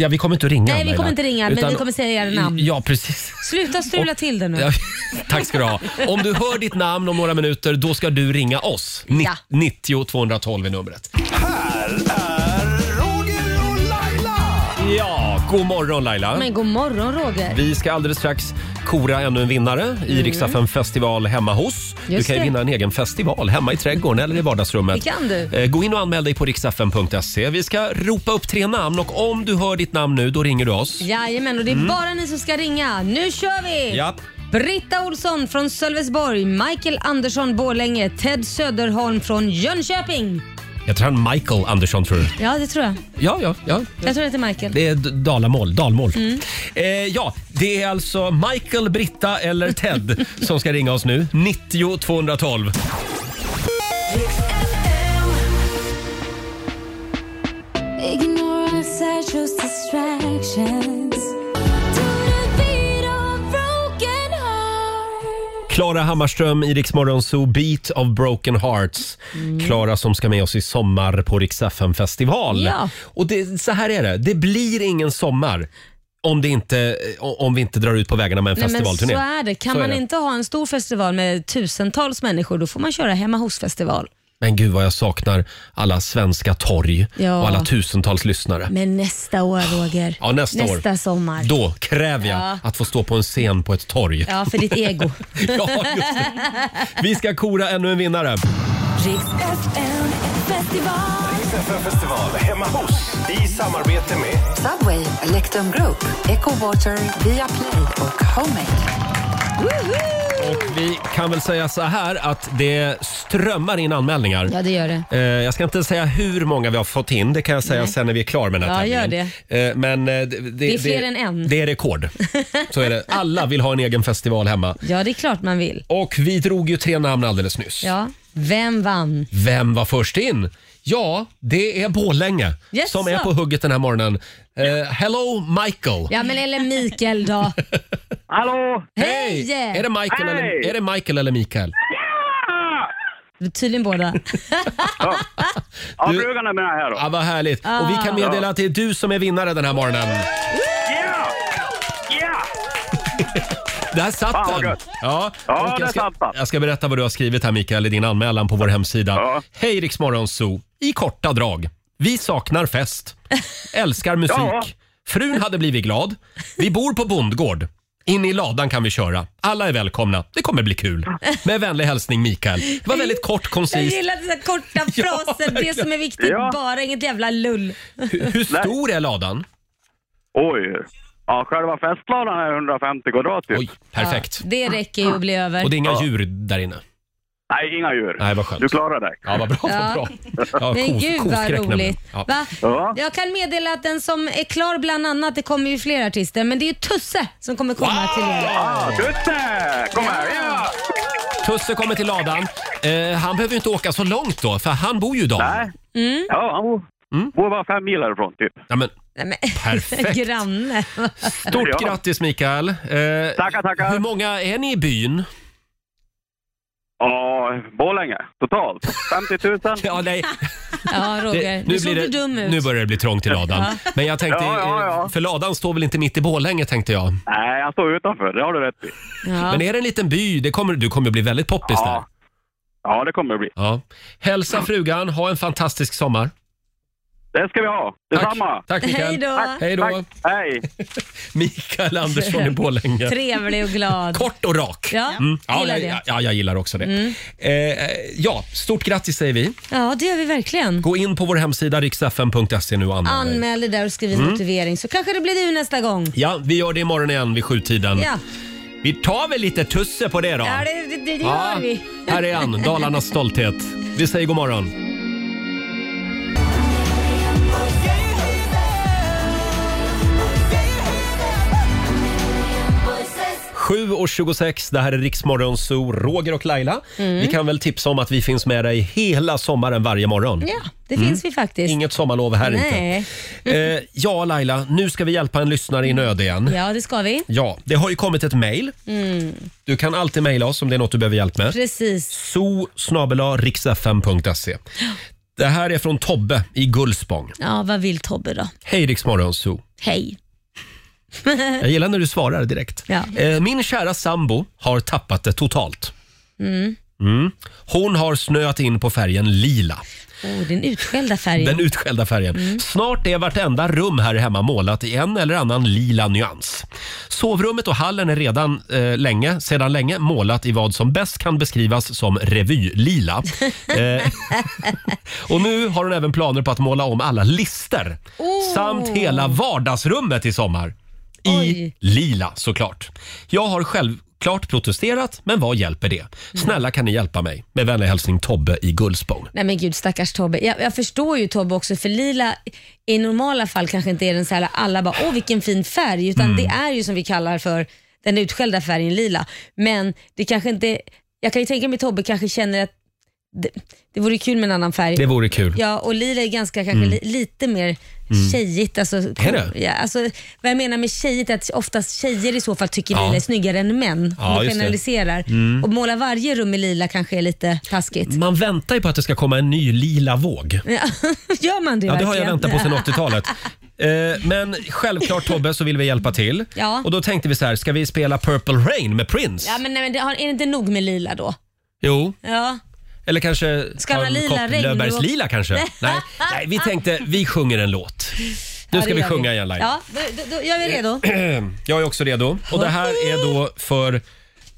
S1: ja, vi kommer inte att ringa.
S2: Mm. Nej, vi
S1: Laila.
S2: kommer inte ringa, men vi kommer säga era namn. Mm.
S1: Ja, precis.
S2: Sluta strula till det nu.
S1: Ja, tack ska du ha. Om du hör ditt namn om några minuter, då ska du ringa oss. Ni-
S2: Ja.
S1: 90 212 är numret.
S4: Här är Roger och Laila!
S1: Ja, god morgon Laila.
S2: Men god morgon Roger.
S1: Vi ska alldeles strax kora ännu en vinnare i mm. Riksaffen festival hemma hos. du
S2: Just
S1: kan ju
S2: det.
S1: vinna en egen festival hemma i trädgården eller i vardagsrummet.
S2: Det kan du.
S1: Eh, Gå in och anmäl dig på riksaffen.se. Vi ska ropa upp tre namn och om du hör ditt namn nu, då ringer du oss.
S2: Jajamän, och det är bara ni som ska ringa. Nu kör vi!
S1: Mm. Ja.
S2: Britta Olsson från Sölvesborg, Michael Andersson Borlänge, Ted Söderholm från Jönköping.
S1: Jag tror han Michael Andersson tror du?
S2: Ja, det tror jag.
S1: Ja, ja, ja.
S2: Jag tror det heter Michael.
S1: Det är d- dalamål. dalmål.
S2: Mm.
S1: Eh, ja, det är alltså Michael, Britta eller Ted som ska ringa oss nu. 90 212.
S7: Ignorance, I chose distractions. To defeat a broken heart.
S1: Klara Hammarström i Rix Morgon Zoo, Beat of Broken Hearts.
S2: Mm.
S1: Klara som ska med oss i sommar på Rix FM festival.
S2: Ja.
S1: Och det, så här är det, det blir ingen sommar om, det inte, om vi inte drar ut på vägarna med en
S2: Nej, men så
S1: festivalturné.
S2: är det. Kan
S1: Så är
S2: man
S1: det.
S2: inte ha en stor festival med tusentals människor, då får man köra hemma hos-festival.
S1: Men gud vad jag saknar alla svenska torg
S2: Ja.
S1: och alla tusentals lyssnare.
S2: Men nästa år, Roger.
S1: Ja, nästa, år.
S2: sommar.
S1: Då kräver jag
S2: Ja.
S1: att få stå på en scen på ett torg.
S2: Ja, för ditt ego.
S1: Ja, just Vi ska kora ännu en vinnare.
S7: Riks FM festival.
S4: Riks FM festival hemma hos i samarbete med
S10: Subway, Electrum Group, Echo Water, Viaplay och Homemade.
S1: Och vi kan väl säga så här att det strömmar in anmälningar.
S2: Ja, det gör det.
S1: Eh, Jag ska inte säga hur många vi har fått in, det kan jag säga
S2: Nej.
S1: sen när vi är klara med den här
S2: Ja, gör
S1: tävlingen. Eh, Men eh, det,
S2: Det är fler än en.
S1: Det är rekord. Så är det. Alla vill ha en egen festival hemma.
S2: Ja, det är klart man vill.
S1: Och vi drog ju tre namn alldeles nyss.
S2: Ja. Vem vann?
S1: Vem var först in? Ja, det är Borlänge
S2: Yes,
S1: som är
S2: så.
S1: på hugget den här morgonen. Eh, hello Michael!
S2: Ja, men eller Mikael då.
S11: Hallå!
S1: Hej! Är, det Michael eller, är det Michael eller Mikael?
S2: Tydligen båda.
S11: Ja, frugan är med här då.
S1: Ja, vad härligt. Och vi kan meddela att det är du som är vinnare den här morgonen. Där satt
S11: Fan, vad
S1: den!
S11: gött.
S1: Ja,
S11: Ja,
S1: och
S11: där
S1: jag, ska,
S11: satt den.
S1: jag ska berätta vad du har skrivit här Mikael i din anmälan på vår hemsida. Hej Rix Morgon Zoo. I korta drag. Vi saknar fest. Älskar musik.
S11: Ja.
S1: Frun hade blivit glad. Vi bor på bondgård. In i ladan kan vi köra. Alla är välkomna. Det kommer bli kul. Med vänlig hälsning Mikael. Det var väldigt kort,
S2: Jag
S1: koncist.
S2: gillar dessa korta fraser. Det som är viktigt,
S1: Ja.
S2: bara inget jävla lull.
S1: Hur, hur stor är ladan?
S11: Oj! Ja, själva festladan är 150 kvadrat ju. Oj,
S1: perfekt.
S2: Det räcker ju att bli över.
S1: Och det är inga djur där inne?
S11: Nej, inga djur.
S1: Nej, vad skönt.
S11: Du klarar dig.
S1: Ja, vad bra.
S2: Ja.
S1: Vad bra. Ja,
S2: Men
S1: kos-
S2: gud vad
S1: koskräck nämligen.
S2: roligt.
S1: Ja.
S2: Va?
S1: Ja.
S2: Jag kan meddela att den som är klar bland annat, det kommer ju fler artister, men det är ju Tusse som kommer komma till er.
S11: Tusse! Kom här! Ja!
S1: Tusse kommer till ladan. Eh, han behöver ju inte åka så långt då, för han bor ju i Dalen.
S2: Mm.
S11: Ja, han bor, bor bara fem mil härifrån typ.
S1: Ja, men,
S2: Nej, men,
S1: Perfekt.
S2: Granne.
S1: stort grattis Mikael. Eh, tackar,
S11: tackar.
S1: Hur många är ni i byn?
S11: Ja, Borlänge totalt. 50 000.
S1: Ja, nej.
S2: Ja, Roger.
S1: Det-
S2: nu
S1: blir
S2: såg du
S1: det-
S2: dum ut.
S1: nu börjar det bli trångt i ladan.
S2: Ja.
S1: Men jag tänkte,
S11: Ja, ja, ja.
S1: eh, för ladan står väl inte mitt i Borlänge tänkte jag.
S11: Nej, han står utanför. Det har du rätt i.
S1: Men är det en liten by, det kommer, du kommer bli väldigt poppis där.
S11: Ja, det kommer det bli.
S1: Ja. Hälsa frugan, ha en fantastisk sommar.
S11: Det ska vi ha. Detsamma.
S1: Tack, tack Mikael.
S2: Hej då. Tack,
S1: Hej då.
S11: Hej.
S1: Mikael Andersson i Borlänge.
S2: Trevlig och glad.
S1: Kort och rak.
S2: Ja,
S1: Mm. Ja,
S2: gillar
S1: jag,
S2: det.
S1: ja, jag gillar också det.
S2: Mm.
S1: Eh, eh, ja, stort grattis säger vi.
S2: Ja, det gör vi verkligen.
S1: Gå in på vår hemsida riksfn.se nu och anmäl dig.
S2: Anmäl dig där och skriv en
S1: Mm.
S2: motivering så kanske det blir du nästa gång.
S1: Ja, vi gör det imorgon igen vid sjutiden.
S2: Ja,
S1: Vi tar väl lite tusse på det då.
S2: ja det, det, det gör
S1: Ja,
S2: vi.
S1: Här är han, Dalarnas stolthet. Vi säger god morgon. Sju och 26, det här är Riksmorgon Zoo, Roger och Laila.
S2: Mm.
S1: Vi kan väl tipsa om att vi finns med dig hela sommaren varje morgon.
S2: Ja, det
S1: Mm.
S2: finns vi faktiskt.
S1: Inget sommarlov här
S2: Nej.
S1: inte. Eh, ja, Laila, nu ska vi hjälpa en lyssnare i nöd igen.
S2: Ja, det ska vi.
S1: Ja, det har ju kommit ett mejl.
S2: Mm.
S1: Du kan alltid mejla oss om det är något du behöver hjälp med.
S2: Precis.
S1: so Det här är från Tobbe i Gullspång.
S2: Ja, vad vill Tobbe då?
S1: Hej Rix Morgon Zoo.
S2: Hej.
S1: Jag gillar när du svarar direkt.
S2: Eh. Ja.
S1: Eh, Min kära sambo har tappat det totalt.
S2: Mm.
S1: Mm. Hon har snöat in på färgen lila.
S2: Oh, den utskällda färgen.
S1: Den utskällda färgen. Snart är vartenda rum här hemma målat i en eller annan lila nyans. Sovrummet och hallen är redan eh, länge, sedan länge målat i vad som bäst kan beskrivas som revylila. eh, och nu har hon även planer på att måla om alla lister
S9: Oh.
S1: samt hela vardagsrummet i sommar. I lila såklart. Jag har självklart protesterat, men vad hjälper det? Snälla kan ni hjälpa mig? Med vänlig hälsning Tobbe i Gullspång.
S2: Nej men gud stackars Tobbe. Jag, jag förstår ju Tobbe också för lila i normala fall kanske inte är den så här alla bara åh vilken fin färg utan
S12: Mm.
S2: det är ju som vi kallar för den utskällda färgen lila. Men det kanske inte, jag kan ju tänka mig Tobbe kanske känner att det, det vore kul med en annan färg.
S1: Det vore kul.
S2: Ja, och lila är ganska kanske
S1: Mm.
S2: li, lite mer
S1: Mm.
S2: tjejigt. Alltså,
S1: Är det?
S2: Ja, alltså, vad jag menar med tjejigt är att oftast tjejer i så fall tycker
S1: Ja.
S2: lila är snyggare än män.
S1: Ja,
S2: om vi
S1: just det.
S2: generaliserar.
S1: Mm.
S2: Och måla varje rum i lila kanske är lite taskigt.
S1: Man väntar ju på att det ska komma en ny lila våg.
S2: Ja, Gör man det
S1: Ja, det har jag
S2: verkligen?
S1: väntat på sedan 80-talet. Eh, Men självklart Tobbe så vill vi hjälpa till.
S2: Ja.
S1: Och då tänkte vi så här, ska vi spela Purple Rain med Prince?
S2: Ja, men, nej, men det har, är det inte nog med lila då?
S1: Jo,
S2: Ja.
S1: eller kanske
S2: Ska man
S1: ta en
S2: lila
S1: kopp
S2: regn-
S1: Löfbergslila kanske? Nej. Nej, vi tänkte vi sjunger en låt. Nu
S2: ja,
S1: ska
S2: det
S1: vi
S2: gör
S1: sjunga igen Laila.
S2: Ja, då, då, då, jag är redo.
S1: Jag är också redo. Och det här är då för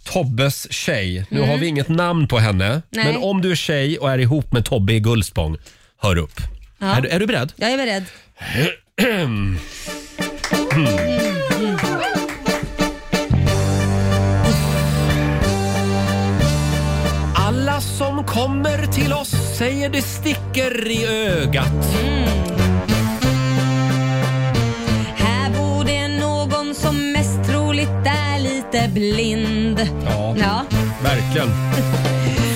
S1: Tobbes tjej. Nu
S2: Mm.
S1: har vi inget namn på henne.
S2: Nej.
S1: Men om du är tjej och är ihop med Tobbe i Gullspång, hör upp.
S2: Ja.
S1: Är, du- är du beredd?
S2: Jag är beredd.
S1: Alla som kommer till oss säger det sticker i ögat.
S2: Här bor det någon som mest troligt är lite blind.
S1: Ja. Verkligen.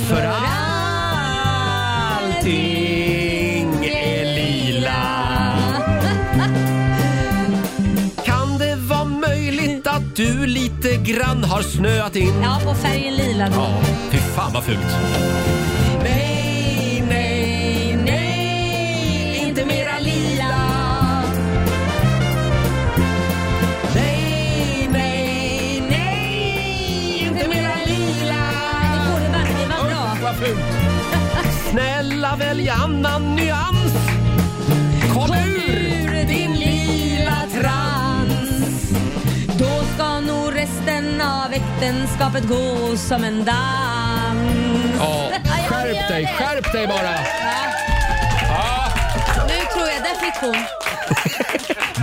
S1: För allting är lila. Kan det vara möjligt att du lite grann har snöat in?
S2: Ja, på färgen lila då.
S1: Ja, fy fan vad fult.
S2: Nej, nej, nej, inte mera lila. Nej, nej, nej, inte mera lila. Det borde verkligen vara bra.
S1: Vad fult. Snälla välj annan nyans. Kom ur
S2: din lila trans. Då ska nog resten av äktenskapet gå som en dans.
S1: Ja,
S2: jag
S1: skärp
S2: gör
S1: dig,
S2: det.
S1: skärp dig bara.
S2: Nu tror jag, där fick hon.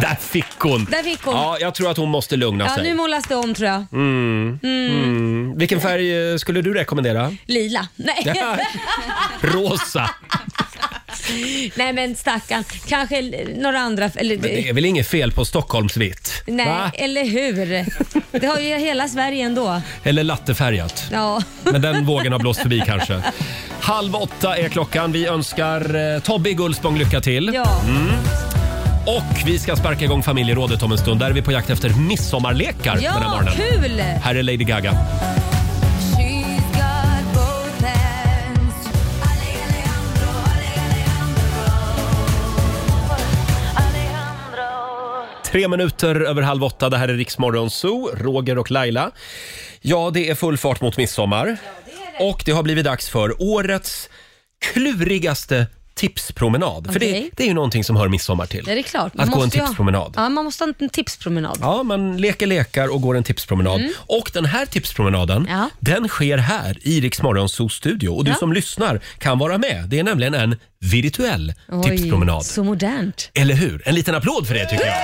S1: Där fick hon.
S2: Där fick hon.
S1: Ja, jag tror att hon måste lugna
S2: Ja,
S1: sig.
S2: nu målas det om tror jag.
S1: Mm.
S2: Mm.
S1: Mm. Vilken färg eh, skulle du rekommendera?
S2: Lila. Nej.
S1: Rosa.
S2: Nej men stackarn. Kanske l- några andra. Eller,
S1: Men det är väl inget fel på Stockholmsvitt?
S2: Nej,
S1: Va?
S2: eller hur? Det har ju hela Sverige ändå.
S1: Eller lattefärgat?
S2: Ja.
S1: Men den vågen har blåst förbi kanske. Halv åtta är klockan. Vi önskar eh, Tobbe i Gullspång lycka till.
S2: Ja.
S1: Mm. Och vi ska sparka igång familjerådet om en stund. Där är vi på jakt efter midsommarlekar den här
S2: Ja,
S1: morgonen.
S2: kul!
S1: Här är Lady Gaga.
S7: She's got both hands.
S1: Tre minuter över halv åtta. Det här är Riksmorgon Zoo, Roger och Laila. Ja, det är full fart mot midsommar. Och det har blivit dags för årets klurigaste tipspromenad. För det,
S2: Okej.
S1: det är ju någonting som hör midsommar till.
S2: Det är klart.
S1: Att gå en
S2: måste ju ha-
S1: tipspromenad.
S2: Ja, man måste ha en tipspromenad.
S1: Ja, man leker lekar och går en tipspromenad.
S2: Mm.
S1: Och den här tipspromenaden,
S2: Ja.
S1: den sker här i Rix Morgonzoos studio. Och du
S2: Ja.
S1: som lyssnar kan vara med. Det är nämligen en virtuell
S2: Oj,
S1: tipspromenad.
S2: Så modernt.
S1: Eller hur? En liten applåd för det tycker jag.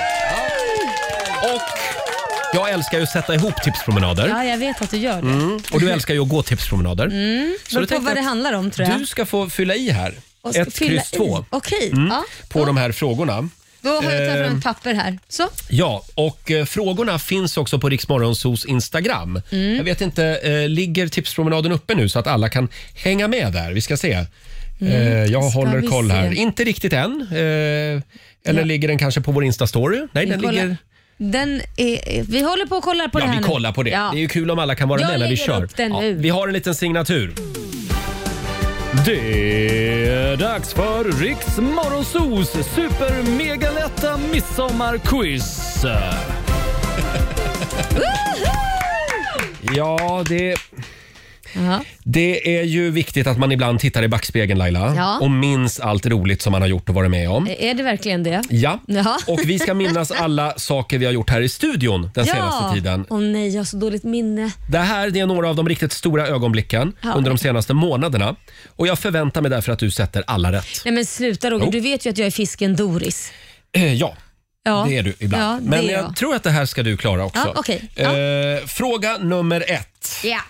S1: Och jag älskar ju att sätta ihop
S2: Ja,
S1: tipspromenader.
S2: jag vet att du gör det.
S1: Mm. Och du älskar ju att gå tipspromenader.
S2: Mm.
S1: Så
S2: Beror
S1: då
S2: på
S1: tänkte
S2: vad
S1: jag
S2: det
S1: att
S2: handlar om tror jag.
S1: Du ska få fylla i här.
S2: Och
S1: Ett
S2: fylla
S1: kryss
S2: i.
S1: två.
S2: Okej,
S1: Mm.
S2: ja.
S1: På de här frågorna.
S2: Då har jag tagit fram
S1: Ehm.
S2: ett papper här. Så.
S1: Ja, och eh, frågorna finns också på Riksmorgonsos Instagram.
S2: Mm.
S1: Jag vet inte, eh, ligger tipspromenaden uppe nu så att alla kan hänga med där? Vi ska se.
S2: Mm,
S1: Eh, jag
S2: ska
S1: håller
S2: vi
S1: koll
S2: se.
S1: här. Inte riktigt än. Eh, eller ligger den kanske på vår Insta-story? Nej,
S2: Vi
S1: den
S2: kollar.
S1: ligger...
S2: Den är, vi håller på och kollar på det
S1: Ja,
S2: här
S1: vi
S2: nu.
S1: kollar på det.
S2: Ja.
S1: Det är ju kul om alla kan vara
S2: Jag
S1: med när vi
S2: lägger
S1: kör.
S2: upp den
S1: ja,
S2: nu.
S1: vi har en liten signatur. Det är dags för Riks
S12: Morgonzos super mega lätta midsommarquiz.
S1: Ja, det... Det är ju viktigt att man ibland tittar i backspegeln Laila
S2: Ja. Eh,
S1: och minns allt roligt som man har gjort och varit med om.
S2: Är det verkligen det?
S1: Ja,
S2: Ja.
S1: och vi ska minnas alla saker vi har gjort här i studion den senaste tiden.
S2: Åh nej, jag har så dåligt minne.
S1: Det här det är några av de riktigt stora ögonblicken
S2: Ja.
S1: under de senaste månaderna. Och jag förväntar mig därför att du sätter alla rätt.
S2: Nej men sluta Roger,
S1: Jo.
S2: du vet ju att jag är fisken Doris.
S1: Eh, ja,
S2: Ja.
S1: det är du ibland.
S2: Ja, det
S1: Men
S2: är
S1: jag,
S2: jag.
S1: tror att det här ska du klara också.
S2: Ja, okej. Ja.
S1: Eh, fråga nummer ett.
S2: Ja.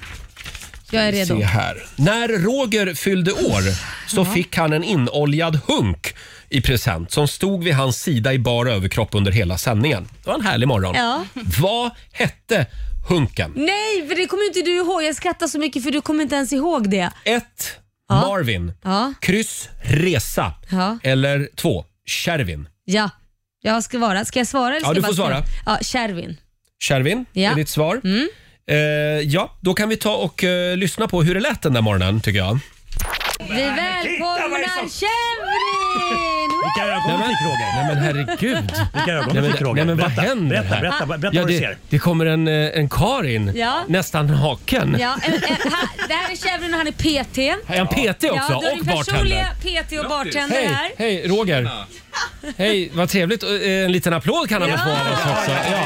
S2: Jag är redo.
S1: Se här. När Roger fyllde år så
S2: Ja.
S1: fick han en inoljad hunk i present som stod vid hans sida i bar överkropp under hela sändningen. Det var en härlig morgon.
S2: Ja.
S1: Vad hette hunken?
S2: Nej, för det kommer inte du ihåg. Jag skrattar så mycket för du kommer inte ens ihåg det.
S1: Ett Marvin.
S2: Ja.
S1: Kryss, resa.
S2: Ja.
S1: Eller två, Kärvin.
S2: Ja, jag ska svara. Ska jag svara? Eller ska
S1: Ja, du
S2: jag bara
S1: får svara.
S2: Ja, Kärvin.
S1: Kärvin
S2: Ja. Mm.
S1: är ditt svar. Eh, ja, då kan vi ta och eh, lyssna på hur det lät den där morgonen tycker jag.
S2: Vi välkomnar Kärvin!
S13: Vilka
S1: Nej,
S13: ögonblick
S1: men-
S13: Roger!
S1: Nej men herregud.
S13: Vilka ögon
S1: Nej,
S13: du
S1: men,
S13: fick Roger.
S1: nej, men
S13: berätta,
S1: vad händer?
S13: Berätta, berätta, berätta
S1: ja,
S13: vad
S1: det,
S13: du ser.
S1: Det kommer en, eh, en Karin,
S2: Ja.
S1: nästan haken.
S2: Ja, eh, eh, ha- det här är Kärvin och han är PT.
S1: Är han PT också?
S2: Ja, du är
S1: Och
S2: din
S1: bartender.
S2: personliga PT och bartender
S1: Hej,
S2: här.
S1: hej Roger. Hej, vad trevligt. Eh, En liten applåd kan han väl få av oss också. Ja.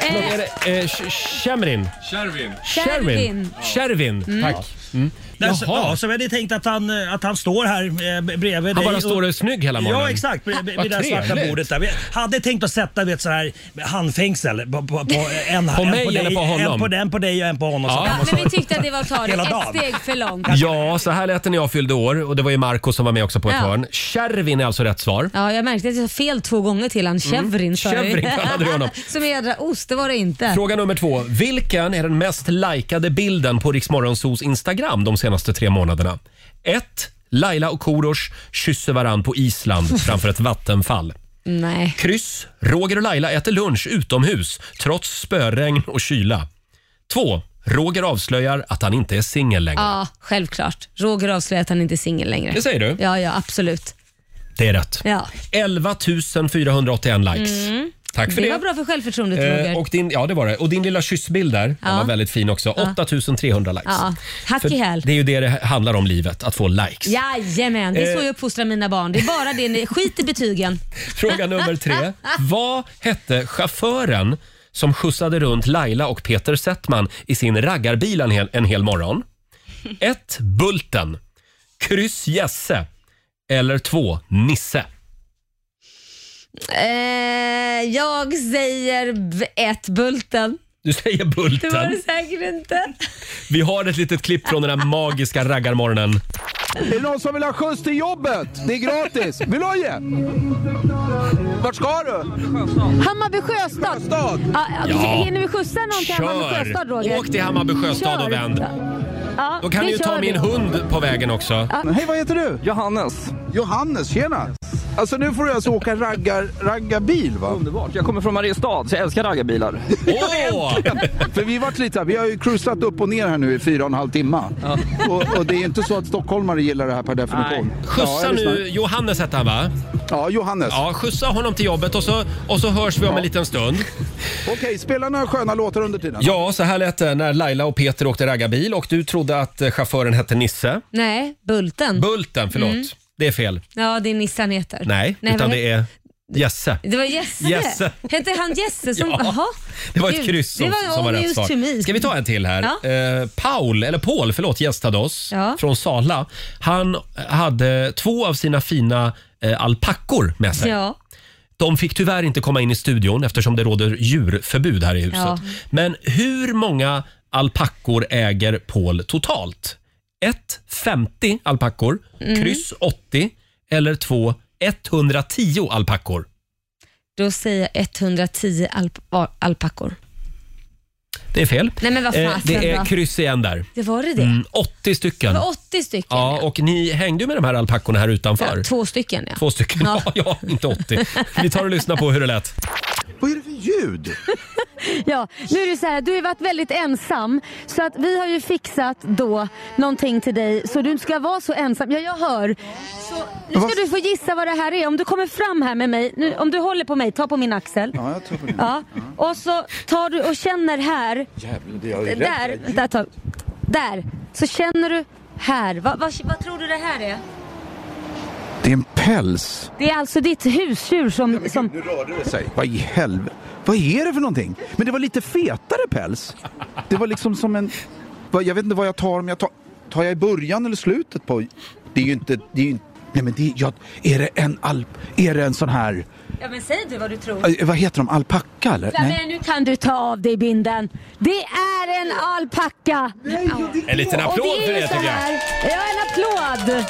S1: Förlåt, är det, eh, Sh- Shemrin?
S13: Kärvin.
S1: Kärvin. Kärvin,
S13: Mm.
S1: tack. Mm.
S13: Där, så,
S1: Jaha.
S13: ja, så vi hade tänkt att han, eh, att han står här eh, b- bredvid dig.
S1: Han bara står och är snygg hela morgonen.
S13: Ja, exakt. Vid, vid
S1: Vad
S13: vid det där svarta
S1: trevligt.
S13: bordet där. Vi hade tänkt att sätta vet, så här handfängsel. På, på, på, en,
S1: På
S13: en
S1: mig
S13: dig,
S1: eller på honom?
S13: En på den, på dig och en på honom.
S1: Ja.
S13: Så kan man
S2: Men vi
S13: stå-
S2: tyckte att det var att ta det
S13: Hela dagen.
S2: ett steg för långt.
S1: Ja, så här lät det när jag fyllde år och det var ju Marco som var med också på ett
S2: Ja.
S1: hörn. Kärvin är alltså rätt svar.
S2: Ja, jag märkte att jag sa fel två gånger till han. Chevrin sa jag ju.
S1: Mm. Chevrin kallade du honom.
S2: Som en jädra ost, det var det inte.
S1: Fråga nummer två. Vilken är den mest likade bilden på Riksmorgonsos Instagram de senaste tre månaderna? 1. Laila och Korosh kysser varann på Island framför ett vattenfall.
S2: Nej.
S1: Kryss. Roger och Laila äter lunch utomhus trots spöregn och kyla. 2. Roger avslöjar att han inte är singel längre.
S2: Ja, självklart. Roger avslöjar att han inte är singel längre.
S1: Det säger du?
S2: Ja, ja, absolut.
S1: Det är rätt.
S2: Ja.
S1: 11 481 likes.
S2: Mm.
S1: Tack för det.
S2: Det var bra för självförtroendet, Roger.
S1: Eh, och din, ja, det var det. Och din lilla kyssbild där, den
S2: Ja.
S1: var väldigt fin också.
S2: Ja.
S1: 8300 likes.
S2: Ja, hack i häl.
S1: För det är ju det det handlar om livet, att få likes.
S2: Jajamän, det är så
S1: Eh.
S2: jag uppfostrar mina barn. Det är bara det, ni- skit i betygen.
S1: Fråga nummer tre. Vad hette chauffören som skjutsade runt Laila och Peter Settman i sin raggarbil en hel, en hel morgon? 1. Bulten. Kryss Jesse. Eller 2. Nisse.
S2: Eh, jag säger b- ett Bulten.
S1: Du säger
S2: Det var det
S1: Bulten.
S2: säkert inte.
S1: Vi har ett litet klipp från den här magiska raggarmorgonen.
S4: Är det någon som vill ha skjuts till jobbet? Det är gratis. Vill du ha det? Vart ska du?
S14: Hammarby sjöstad.
S4: Sjöstad.
S14: Ja,
S1: Ja.
S14: Hinner vi skjutsa någon till Hammarby sjöstad Roger?
S1: Åk till Hammarby sjöstad
S14: Kör.
S1: och vänd.
S14: Ja,
S1: Då kan
S14: vi
S1: ni ju ta
S14: kör
S1: min
S14: det.
S1: hund på vägen också.
S4: Hej, vad heter du? Johannes. Johannes, tjena. Alltså nu får du alltså åka raggar, raggarbil va? Underbart. Jag kommer från Mariestad så jag älskar raggarbilar.
S1: Åh!
S4: För vi varit lite, vi har ju cruisat upp och ner här nu i fyra och en halv timme. Och, och det är ju inte så att stockholmare gillar det här per definition.
S1: Skjutsa
S4: Ja,
S1: nu,
S4: lyssnar.
S1: Johannes hette han va?
S4: Ja, Johannes.
S1: Ja, skjutsa honom till jobbet och så, och så hörs vi om en liten stund.
S4: Okej, spela några sköna låtar under tiden.
S1: Ja, så här lät det när Laila och Peter åkte raggarbil och du trodde att eh, chauffören hette Nisse.
S2: Nej, Bulten.
S1: Bulten, förlåt.
S2: Mm.
S1: Det är fel.
S2: Ja, det är Nisse han heter.
S1: Nej, utan
S2: vad
S1: det är Jesse.
S2: Det var Jesse.
S1: Jesse.
S2: Hette han Jesse? Som,
S1: Ja.
S2: Jaha.
S1: Det var ett
S2: Gud,
S1: kryss som
S2: det
S1: var, som var rätt
S2: obvious to me.
S1: svar. Ska vi ta en till här?
S2: Ja.
S1: Eh, Paul, eller Paul, förlåt, gästade oss
S2: Ja.
S1: från Sala. Han hade två av sina fina eh, alpackor med sig.
S2: Ja.
S1: De fick tyvärr inte komma in i studion eftersom det råder djurförbud här i huset.
S2: Ja.
S1: Men hur många alpackor äger Paul totalt? 1. 50 alpackor,
S2: Mm.
S1: kryss 80 eller 2. 110 alpackor.
S2: Då säger jag 110 alp- alpackor.
S1: Det är fel. Eh,
S2: Nej, men vad fasen,
S1: det är
S2: va?
S1: kryss igen där.
S2: Det var det det?
S1: Mm, 80
S2: Det
S1: stycken.
S2: var 80 stycken.
S1: Ja, och ni hängde ju med de här alpackorna här utanför.
S2: Ja, två stycken ja.
S1: Två stycken. Ja. ja, inte 80. Vi tar och lyssnar på hur det lät.
S4: Vad är det för ljud?
S14: Ja, nu är det så här, du har ju varit väldigt ensam. Så att vi har ju fixat då någonting till dig så du inte ska vara så ensam. Ja, jag hör. Så nu ska du få gissa vad det här är. Om du kommer fram här med mig, nu, om du håller på mig, ta på min axel.
S4: Ja, jag tror på det.
S14: Ja. Och så tar du och känner här. Där, där, tar, där. Så känner du här. Vad, vad, vad tror du det här är?
S4: Det är en päls.
S14: Det är alltså ditt husdjur som... som
S4: Säg, Vad i helvete? Vad är det för någonting? Men det var lite fetare päls. Det var liksom som en... vad- Jag vet inte vad jag tar om jag tar... Tar jag i början eller slutet på... Det är ju inte... Det är ju inte
S15: Nej men det, jag, är det en alp, är det en sån här,
S14: Ja men säg du vad du tror.
S15: eh, vad heter de, alpacka eller?
S14: Nej. Men nu kan du ta av dig binden. Det är en alpacka!
S1: En liten applåd för det tycker jag.
S14: Ja, en applåd!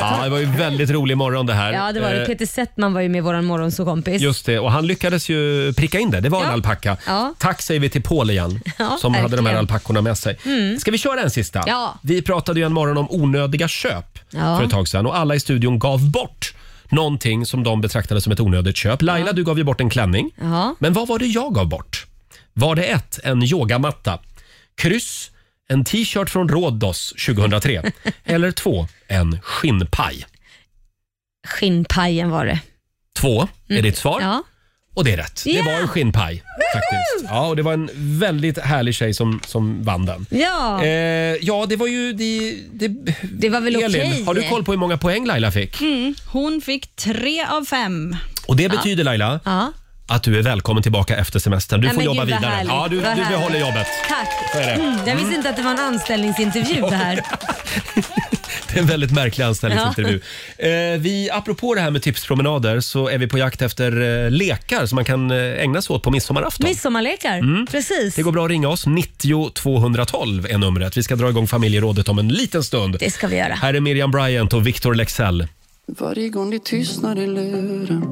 S1: Ja, det var ju väldigt rolig morgon det här.
S2: Ja, det var
S1: Eh,
S2: det. Peter Settman var ju med i vår morgonsåkompis.
S1: Just det, och han lyckades ju pricka in det. Det var en
S2: Ja.
S1: alpacka.
S2: Ja.
S1: Tack säger vi till Paul igen,
S2: Ja,
S1: som hade de här
S2: verkligen.
S1: alpackorna med sig.
S2: Mm.
S1: Ska vi köra en sista?
S2: Ja.
S1: Vi pratade ju en morgon om onödiga köp
S2: Ja.
S1: för ett tag sedan och alla i studion gav bort någonting som de betraktade som ett onödigt köp. Laila, du gav ju bort en klänning.
S2: Ja.
S1: Men vad var det jag gav bort? Var det ett, en yogamatta? Kryss, en t-shirt från Rhodos 2003? Eller två, en skinnpaj?
S2: Skinnpajen var det.
S1: Två är
S2: Mm.
S1: ditt svar.
S2: Ja.
S1: Och det är rätt.
S2: Ja.
S1: Det var en skinnpaj. Faktiskt. Ja, och det var en väldigt härlig tjej som, som vann den.
S2: Ja.
S1: Eh, ja, det var ju... Det, det,
S2: det var väl okej.
S1: Elin, har du koll på hur många poäng Laila fick?
S6: Mm. Hon fick tre av fem.
S1: Och det
S6: Ja.
S1: betyder Laila
S2: Ja.
S1: att du är välkommen tillbaka efter semestern. Du
S2: Nej,
S1: får
S2: men
S1: jobba
S2: gud, vad
S1: vidare.
S2: härligt.
S1: Ja, du,
S2: Vad
S1: du
S2: härligt.
S1: behåller jobbet.
S2: Tack.
S1: Så är det.
S2: Mm, jag visste inte att det var en anställningsintervju det här.
S1: Det är en väldigt märklig anställningsintervju. Eh, vi, apropå det här med tipspromenader så är vi på jakt efter eh, lekar som man kan eh, ägna sig åt på midsommarafton.
S2: Midsommarlekar.
S1: Mm.
S2: Precis.
S1: Det går bra att ringa oss. 90 212 är numret. Vi ska dra igång familjerådet om en liten stund.
S2: Det ska vi göra.
S1: Här är Miriam Bryant och Victor Lexell.
S16: Varje gång det tystnar i luren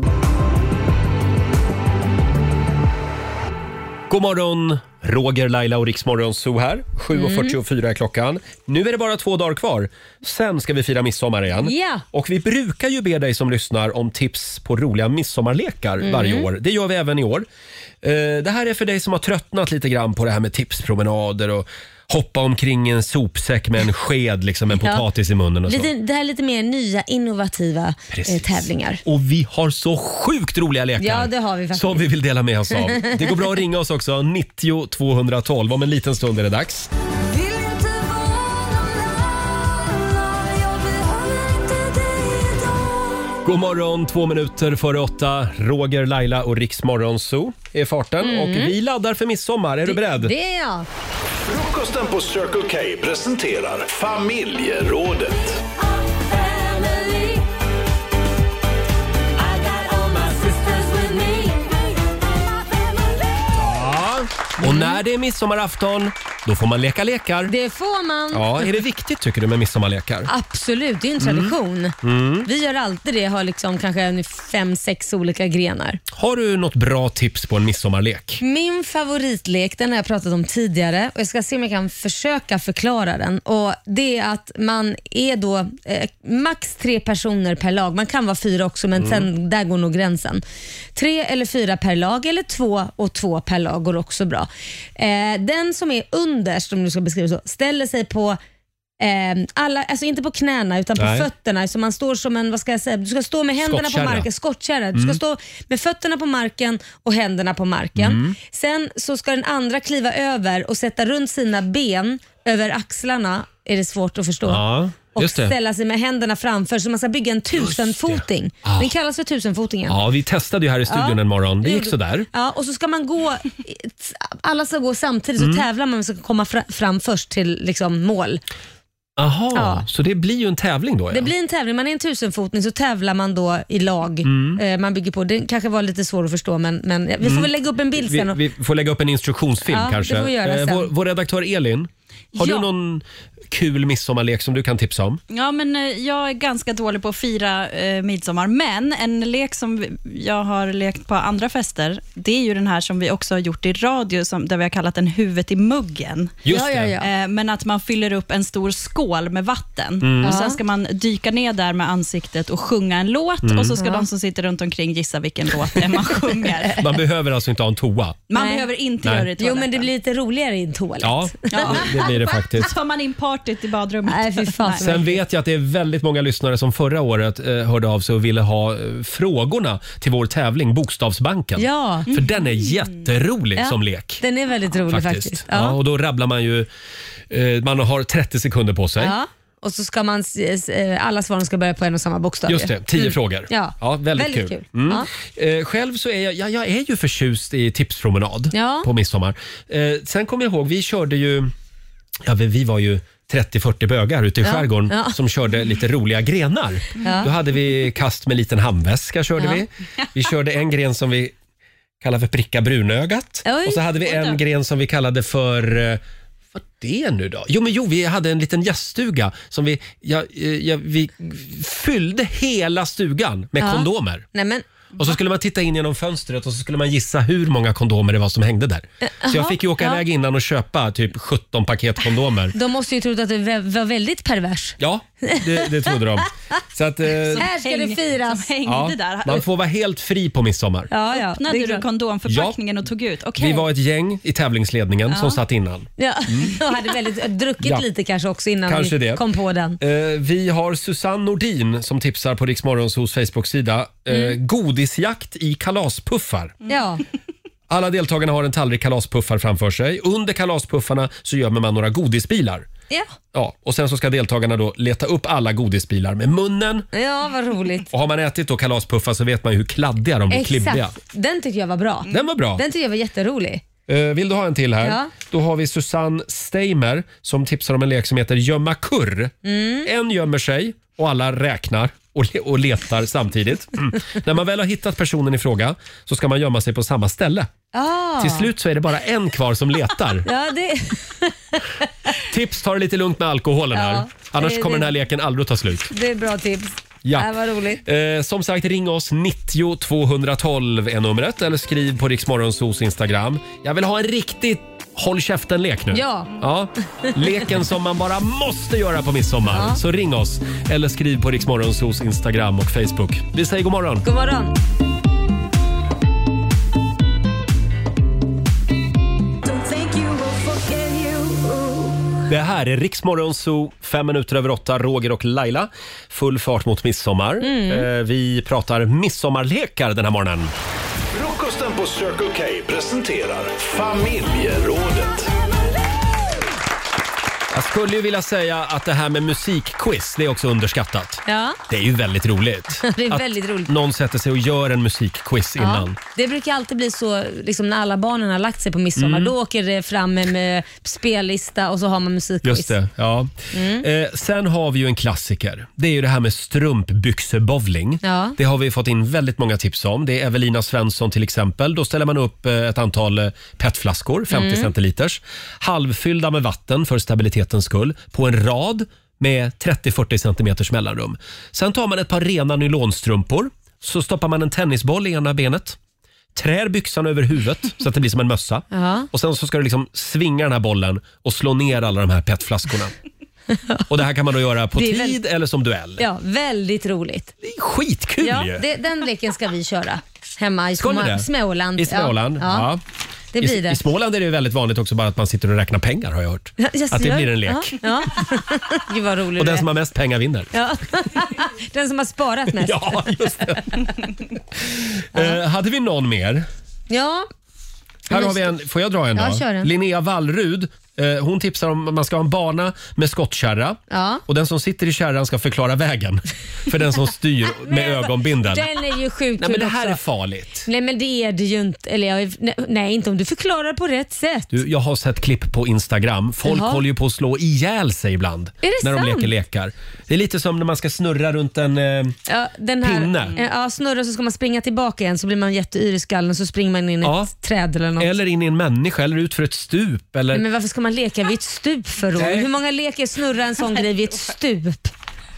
S1: God morgon, Roger, Laila och Riksmorgon Zoo här.
S2: Mm.
S1: 7.44 är klockan. Nu är det bara två dagar kvar. Sen ska vi fira midsommar igen.
S2: Ja.
S1: Och vi brukar ju be dig som lyssnar om tips på roliga midsommarlekar
S2: Mm.
S1: varje år. Det gör vi även i år. Eh, Det här är för dig som har tröttnat lite grann på det här med tipspromenader och hoppa omkring i en sopsäck med en sked, liksom en
S2: Ja.
S1: potatis i munnen och så.
S2: Lite, eh, det här är lite mer nya innovativa eh,
S1: Precis.
S2: tävlingar.
S1: Och vi har så sjukt roliga lekar.
S2: Ja, det har vi faktiskt.
S1: Som vi vill dela med oss av. Det går bra att ringa oss också. 90 212. Om en liten stund är det dags. God morgon, två minuter före åtta. Roger, Laila och Riksmorgon Zoo är i farten.
S2: Mm.
S1: Och vi laddar för midsommar. Är du beredd?
S2: Det är jag.
S8: Frukosten på Circle K presenterar familjerådet.
S1: Ja. Och när det är midsommarafton, då får man leka lekar.
S2: Det får man.
S1: Ja, är det viktigt tycker du med midsommarlekar?
S2: Absolut, det är en
S1: Mm.
S2: tradition.
S1: Mm.
S2: Vi gör alltid det, har liksom kanske en fem, sex olika grenar.
S1: Har du något bra tips på en midsommarlek?
S2: Min favoritlek, den har jag pratat om tidigare och jag ska se om jag kan försöka förklara den. Och Det är att man är då eh, max tre personer per lag. Man kan vara fyra också men
S17: Mm.
S2: sen, där går nog gränsen. Tre eller fyra per lag eller två och två per lag går också bra. Eh, den som är underst, om du ska beskriva så, ställer sig på Eh, alla, alltså inte på knäna utan på
S17: Nej.
S2: fötterna. Så man står som en, vad ska jag säga, du ska stå med händerna på
S17: Skottkärra.
S2: marken, skottkärra. Du ska
S17: Mm.
S2: stå med fötterna på marken och händerna på marken.
S17: Mm.
S2: Sen så ska den andra kliva över och sätta runt sina ben över axlarna, är det svårt att förstå.
S1: Ja,
S2: och
S1: just det.
S2: ställa sig med händerna framför så man ska bygga en tusenfoting.
S1: Ah.
S2: Den kallas för tusenfotingen.
S1: Ja, vi testade ju här i studion
S2: Ja.
S1: en morgon. Det gick
S2: Gjorde-
S1: sådär.
S2: Ja, och så ska man gå, alla ska gå samtidigt så
S1: Mm.
S2: tävlar man så komma fra, fram först till liksom, mål.
S1: Jaha,
S2: Ja.
S1: så det blir ju en tävling då? Ja.
S2: Det blir en tävling, man är en tusenfotning så tävlar man då i lag.
S1: Mm.
S2: Eh, man bygger på, det kanske var lite svårt att förstå men, men vi får
S1: Mm.
S2: väl lägga upp en bild sen. Och,
S1: Vi, vi får lägga upp en instruktionsfilm
S2: Ja, det
S1: kanske. Eh,
S2: får vi göra sen.
S1: vår, vår redaktör Elin, har
S6: Ja.
S1: du någon kul midsommarlek som du kan tipsa om?
S6: Ja, men eh, jag är ganska dålig på att fira eh, midsommar, men en lek som vi- jag har lekt på andra fester, det är ju den här som vi också har gjort i radio, som, där vi har kallat den huvudet i muggen.
S17: Just Ja, ja, det. ja.
S6: Eh, Men att man fyller upp en stor skål med vatten
S17: Mm.
S6: och
S17: Ja.
S6: sen ska man dyka ner där med ansiktet och sjunga en låt
S1: Mm.
S6: och så ska
S1: Ja.
S6: de som sitter runt omkring gissa vilken låt det är man sjunger.
S1: Man behöver alltså inte ha en toa.
S6: Man behöver inte
S1: Nej.
S6: göra det i
S2: jo men det blir lite roligare i en toalett.
S1: Ja, det, det blir det faktiskt.
S6: Tar man in partyt i badrummet? Nej,
S2: fy fan.
S1: Sen vet jag att det är väldigt många lyssnare som förra året eh, hörde av sig och ville ha eh, frågorna till vår tävling Bokstavsbanken.
S2: Ja.
S1: För den är jätterolig
S2: Ja,
S1: som lek.
S2: Den är väldigt rolig faktiskt.
S1: Ja.
S2: Ja.
S1: och då rabblar man ju... Eh, man har 30 sekunder på sig.
S2: Ja. Och så ska man, s- s- eh, alla svaren ska börja på en och samma bokstav.
S1: Just det, tio
S2: Mm.
S1: frågor.
S2: Ja,
S1: väldigt, kul.
S2: Väldigt kul.
S1: Mm. Eh, själv så är jag, ja, jag är ju förtjust i tipspromenad
S2: Ja.
S1: på midsommar. Eh, sen kommer jag ihåg, vi körde ju Ja, vi vi var ju 30-40 bögar ute i
S2: Ja,
S1: skärgården
S2: ja.
S1: som körde lite roliga grenar.
S2: Ja.
S1: Då hade vi kast med liten handväska. Körde
S2: Ja.
S1: vi. vi körde en gren som vi kallade för pricka brunögat.
S2: Oj,
S1: och så hade vi
S2: oj då.
S1: en gren som vi kallade för eh, vad det är nu då? Jo, men jo, vi hade en liten gäststuga som vi, ja, eh, ja, vi fyllde hela stugan med
S2: Ja.
S1: kondomer.
S2: Nej, men,
S1: Och så skulle man titta in genom fönstret och så skulle man gissa hur många kondomer det var som hängde där. Så jag
S2: jaha,
S1: fick ju åka
S2: ja.
S1: iväg innan och köpa typ 17 paket kondomer.
S2: De måste ju trott att du vä- var väldigt pervers.
S1: Ja, det, det trodde de. Så att, eh,
S2: Här ska det firas. Som
S1: ja, man får vara helt fri på midsommar.
S2: Ja, ja, det är
S6: Öppnade du
S2: klart.
S6: kondomförpackningen och tog ut? Okej.
S1: Vi var ett gäng i tävlingsledningen
S6: Ja.
S1: som satt innan.
S2: Ja, jag hade väldigt, druckit
S1: Mm. Ja.
S2: lite kanske också innan
S1: Kanske
S2: vi
S1: det.
S2: kom på den.
S1: Eh, vi har Susanne Nordin som tipsar på Riksmorgonsos Facebook-sida. Eh,
S2: Mm.
S1: Godisjakt i kalaspuffar.
S2: Ja.
S1: Alla deltagarna har en tallrik kalaspuffar framför sig. Under kalaspuffarna så gömmer man några godisbilar.
S2: Ja.
S1: Ja, och sen så ska deltagarna då leta upp alla godisbilar med munnen.
S2: ja, vad roligt.
S1: Och har man ätit då kalaspuffar så vet man ju hur kladdiga de blir, klibbiga. Mm.
S2: Exakt. Den tyckte jag var bra.
S1: Den var bra.
S2: Den tyckte jag var jätterolig.
S1: Eh, Vill du ha en till här?
S2: Ja.
S1: Då har vi Susanne Steimer som tipsar om en lek som heter gömma kurr.
S2: Mm.
S1: En gömmer sig och alla räknar och, le- och letar samtidigt. Mm. När man väl har hittat personen i fråga så ska man gömma sig på samma ställe.
S2: Ah.
S1: Till slut så är det bara en kvar som letar.
S2: Ja, det...
S1: Tips, ta det lite lugnt med alkoholen här.
S2: Ja,
S1: Annars
S2: det-
S1: kommer
S2: det-
S1: den
S2: Äh,
S1: här leken aldrig att ta slut.
S2: Det är bra tips.
S1: Ja.
S2: Det var roligt.
S1: Eh, som sagt, ring oss 90 212 är numret eller skriv på Riksmorgonsos Instagram. Jag vill ha en riktig håll käften-lek nu.
S2: Ja.
S1: ja. Leken som man bara måste göra på midsommar.
S2: Ja.
S1: Så ring oss eller skriv på Riksmorgonsos Instagram och Facebook. Vi säger god morgon.
S2: God morgon.
S1: Det här är Riksmorgonso, fem minuter över åtta, Roger och Laila. Full fart mot midsommar.
S8: Mm.
S1: Eh, vi pratar midsommarlekar den här morgonen.
S8: Frukosten på Circle K presenterar Familjerådet.
S1: Jag skulle ju vilja säga att det här med musikquiz, det är också underskattat.
S2: Ja.
S1: Det är ju väldigt roligt.
S2: Det är
S1: Att
S2: väldigt roligt.
S1: någon sätter sig och gör en musikquiz innan.
S2: Ja, det brukar alltid bli så liksom, när alla barnen har lagt sig på midsommar.
S1: Mm.
S2: Då åker det fram med, med spellista och så har man musikquiz.
S1: Just det, ja.
S2: Mm.
S1: Eh, sen har vi ju en klassiker. Det är ju det här med strumpbyxebowling.
S2: Ja.
S1: Det har vi fått in väldigt många tips om. Det är Evelina Svensson till exempel. Då ställer man upp eh, ett antal eh, PET-flaskor, 50
S2: Mm.
S1: centiliters, halvfyllda med vatten för stabilitetens skull, på en rad med 30-40 centimeters mellanrum. Sen tar man ett par rena nylonstrumpor, så stoppar man en tennisboll i ena benet, trär byxan över huvudet så att det blir som en mössa.
S2: Ja.
S1: Och sen så ska du liksom svinga den här bollen och slå ner alla de här PET-flaskorna. och det här kan man då göra på
S2: Det är
S1: tid
S2: väldigt-
S1: eller som duell.
S2: Ja, väldigt roligt. Det är
S1: skitkul
S2: ja,
S1: ju.
S2: det, Den leken ska vi köra hemma i
S1: Ska ni
S2: Små-
S1: det?
S2: Småland.
S1: I Småland, ja.
S2: Ja. Det blir
S1: I,
S2: det.
S1: I Småland är det ju väldigt vanligt också bara att man sitter och räknar pengar har jag hört.
S2: Ja, jag
S1: att det
S2: ser.
S1: blir en lek.
S2: Ja, ja. Gud vad rolig
S1: Och
S2: du
S1: den
S2: är.
S1: som har mest pengar vinner.
S2: Ja. Den som har sparat mest.
S1: Ja, just Eh, hade vi någon mer?
S2: Ja.
S1: Här har vi en, får jag dra en
S2: Ja,
S1: då?
S2: kör den.
S1: Linnea Wallrud, eh, hon tipsar om att man ska ha en bana med skottkärra.
S2: Ja.
S1: Och den som sitter i kärran ska förklara vägen för den som styr med ögonbindeln.
S2: Den är ju sjukt
S1: Nej men det här
S2: kul
S1: är
S2: också.
S1: farligt.
S2: Nej men det är det ju inte. Eller jag, nej, nej, inte om du förklarar på rätt sätt.
S1: Du, jag har sett klipp på Instagram. Folk
S2: Jaha.
S1: håller ju på att slå ihjäl sig ibland
S2: det
S1: när de
S2: sant?
S1: leker lekar. Det är lite som när man ska snurra runt en... Eh,
S2: Ja, den här,
S1: Pinne.
S2: eh, Ja, snurra så ska man springa tillbaka igen så blir man jätteyr i skallen så springer man in i
S1: Ja.
S2: ett träd eller något.
S1: eller in i en människa eller ut för ett stup. Eller,
S2: Nej, Men varför ska man leka vid ett stup för då?
S1: Nej.
S2: Hur många leker snurra en sån grej vid ett stup?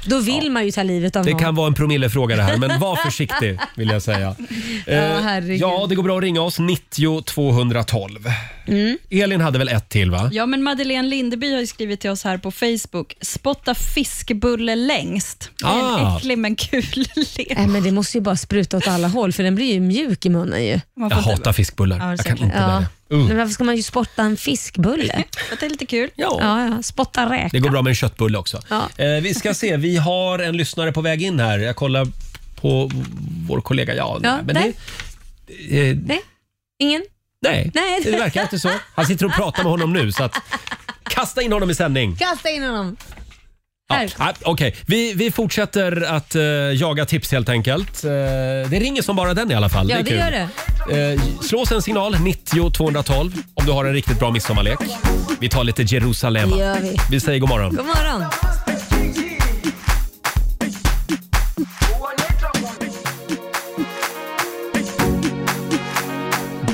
S2: Då vill man ju ta livet av
S1: det
S2: någon.
S1: kan vara en promillefråga det här, men var försiktig vill jag säga. Eh,
S2: Ja, herregud.
S1: ja, det går bra att ringa oss. 90 212.
S2: Mm.
S1: Elin hade väl ett till va?
S6: Ja, men Madeleine Lindeby har ju skrivit till oss här på Facebook. Spotta fiskbulle längst. Det är en
S2: Ah.
S6: äcklig men kul lek.
S2: Nej, men det måste ju bara spruta åt alla håll för den blir ju mjuk i munnen ju.
S1: Jag hatar fiskbullar.
S6: Ja, det är
S1: jag kan
S6: säkert.
S1: inte
S2: Ja.
S1: med det. Uh.
S2: Men varför ska man ju spotta en fiskbulle?
S6: Det är lite kul.
S1: Ja.
S2: ja, Spotta räk.
S1: Det går bra med en köttbulle också.
S2: Ja.
S1: Eh, vi ska se, vi har en lyssnare på väg in här. Jag kollar på vår kollega. Ja,
S2: Ja,
S1: nej, men
S2: där.
S1: det, eh,
S2: Nej, ingen?
S1: nej.
S2: Nej.
S1: det verkar inte så. Han sitter och pratar med honom nu, så att, kasta in honom i sändning.
S2: Kasta in honom.
S1: Ja, ah, Okej, vi, vi fortsätter att eh, jaga tips helt enkelt. Eh, det ringer som bara den i alla fall.
S2: Ja,
S1: är
S2: det
S1: kul.
S2: gör det.
S1: Eh, slås en signal, 90 212, om du har en riktigt bra midsommarlek. Vi tar lite Jerusalem.
S2: Det gör vi.
S1: vi säger god morgon.
S2: God morgon.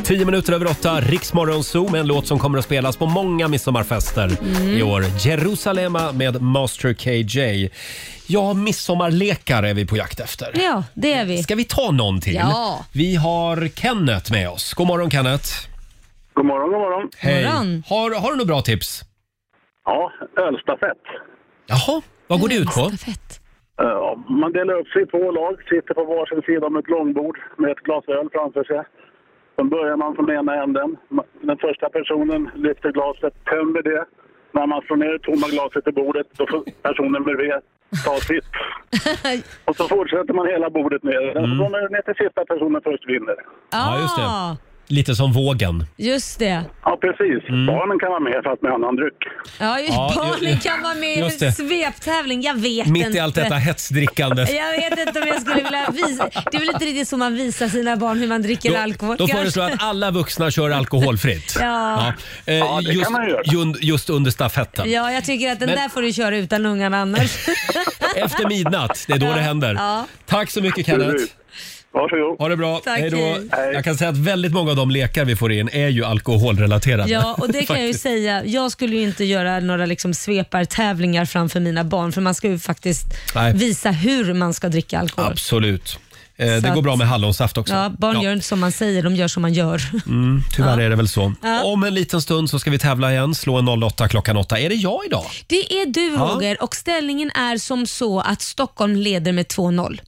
S1: Tio minuter över åtta, Riksmorgon Zoo med en låt som kommer att spelas på många midsommarfester
S9: Mm.
S1: i år. Jerusalema med Master KJ. Ja, midsommarlekar är vi på jakt efter.
S2: Ja, det är vi.
S1: Ska vi ta någon till?
S2: Ja.
S1: Vi har Kenneth med oss. God morgon Kenneth.
S11: God morgon, god morgon.
S1: Hej.
S2: morgon.
S1: Har, har du några bra tips?
S11: Ja, ölstafett.
S1: Jaha, vad går det ut
S2: Mm,
S1: på?
S11: Eh, Man delar upp sig i två lag, sitter på varsin sida om ett långbord med ett glas öl framför sig. Sen börjar man från ena änden. Ma- Den första personen lyfter glaset, tömmer det. När man slår ner det tomma glaset i bordet, då får personen bredvid ta sitt. Och så fortsätter man hela bordet ner. Den som
S1: Mm.
S11: kommer ner till sista personen först vinner.
S1: Ja, just det. Lite som vågen.
S2: Just det.
S11: Ja, precis. Barnen kan vara med fast med annan dryck.
S2: Ja, just
S1: Ja, ju-
S2: barnen
S1: ju-
S2: kan vara med i
S1: just
S2: en
S1: det.
S2: sveptävling. Jag vet
S1: Mitt
S2: inte.
S1: i allt detta hetsdrickandet.
S2: Jag vet inte om jag skulle vilja visa. Det är väl inte riktigt så man visar sina barn hur man dricker alkohol.
S1: Då
S2: kanske.
S1: föreslår jag att alla vuxna kör alkoholfritt.
S2: Ja.
S1: Eh, just, jun- just under stafetten.
S2: Ja, jag tycker att den
S1: Men-
S2: där får du köra utan ungarna annars.
S1: Efter midnatt, det är då det händer.
S2: Ja.
S1: Tack så mycket Kenneth.
S11: Absolut. Varsågod.
S1: Ha det bra.
S2: Tack,
S1: Hej då.
S2: hej.
S1: Jag kan säga att väldigt många av de lekar vi får in är ju alkoholrelaterade.
S2: Ja, och det kan jag ju
S1: Faktiskt.
S2: säga. Jag skulle ju inte göra några liksom svepartävlingar framför mina barn för man ska ju faktiskt
S1: Nej.
S2: visa hur man ska dricka alkohol.
S1: Absolut. Eh,
S2: Så
S1: det går
S2: att-
S1: bra med hallonsaft också.
S2: Ja, barn gör inte som man säger, de gör som man gör.
S1: Mm, tyvärr
S2: Ja.
S1: är det väl så.
S2: Ja.
S1: Om en liten stund så ska vi tävla igen. Slå en 08 klockan 8. Är det jag idag?
S2: Det är du
S1: Ja.
S2: Roger och ställningen är som så att Stockholm leder med 2-0.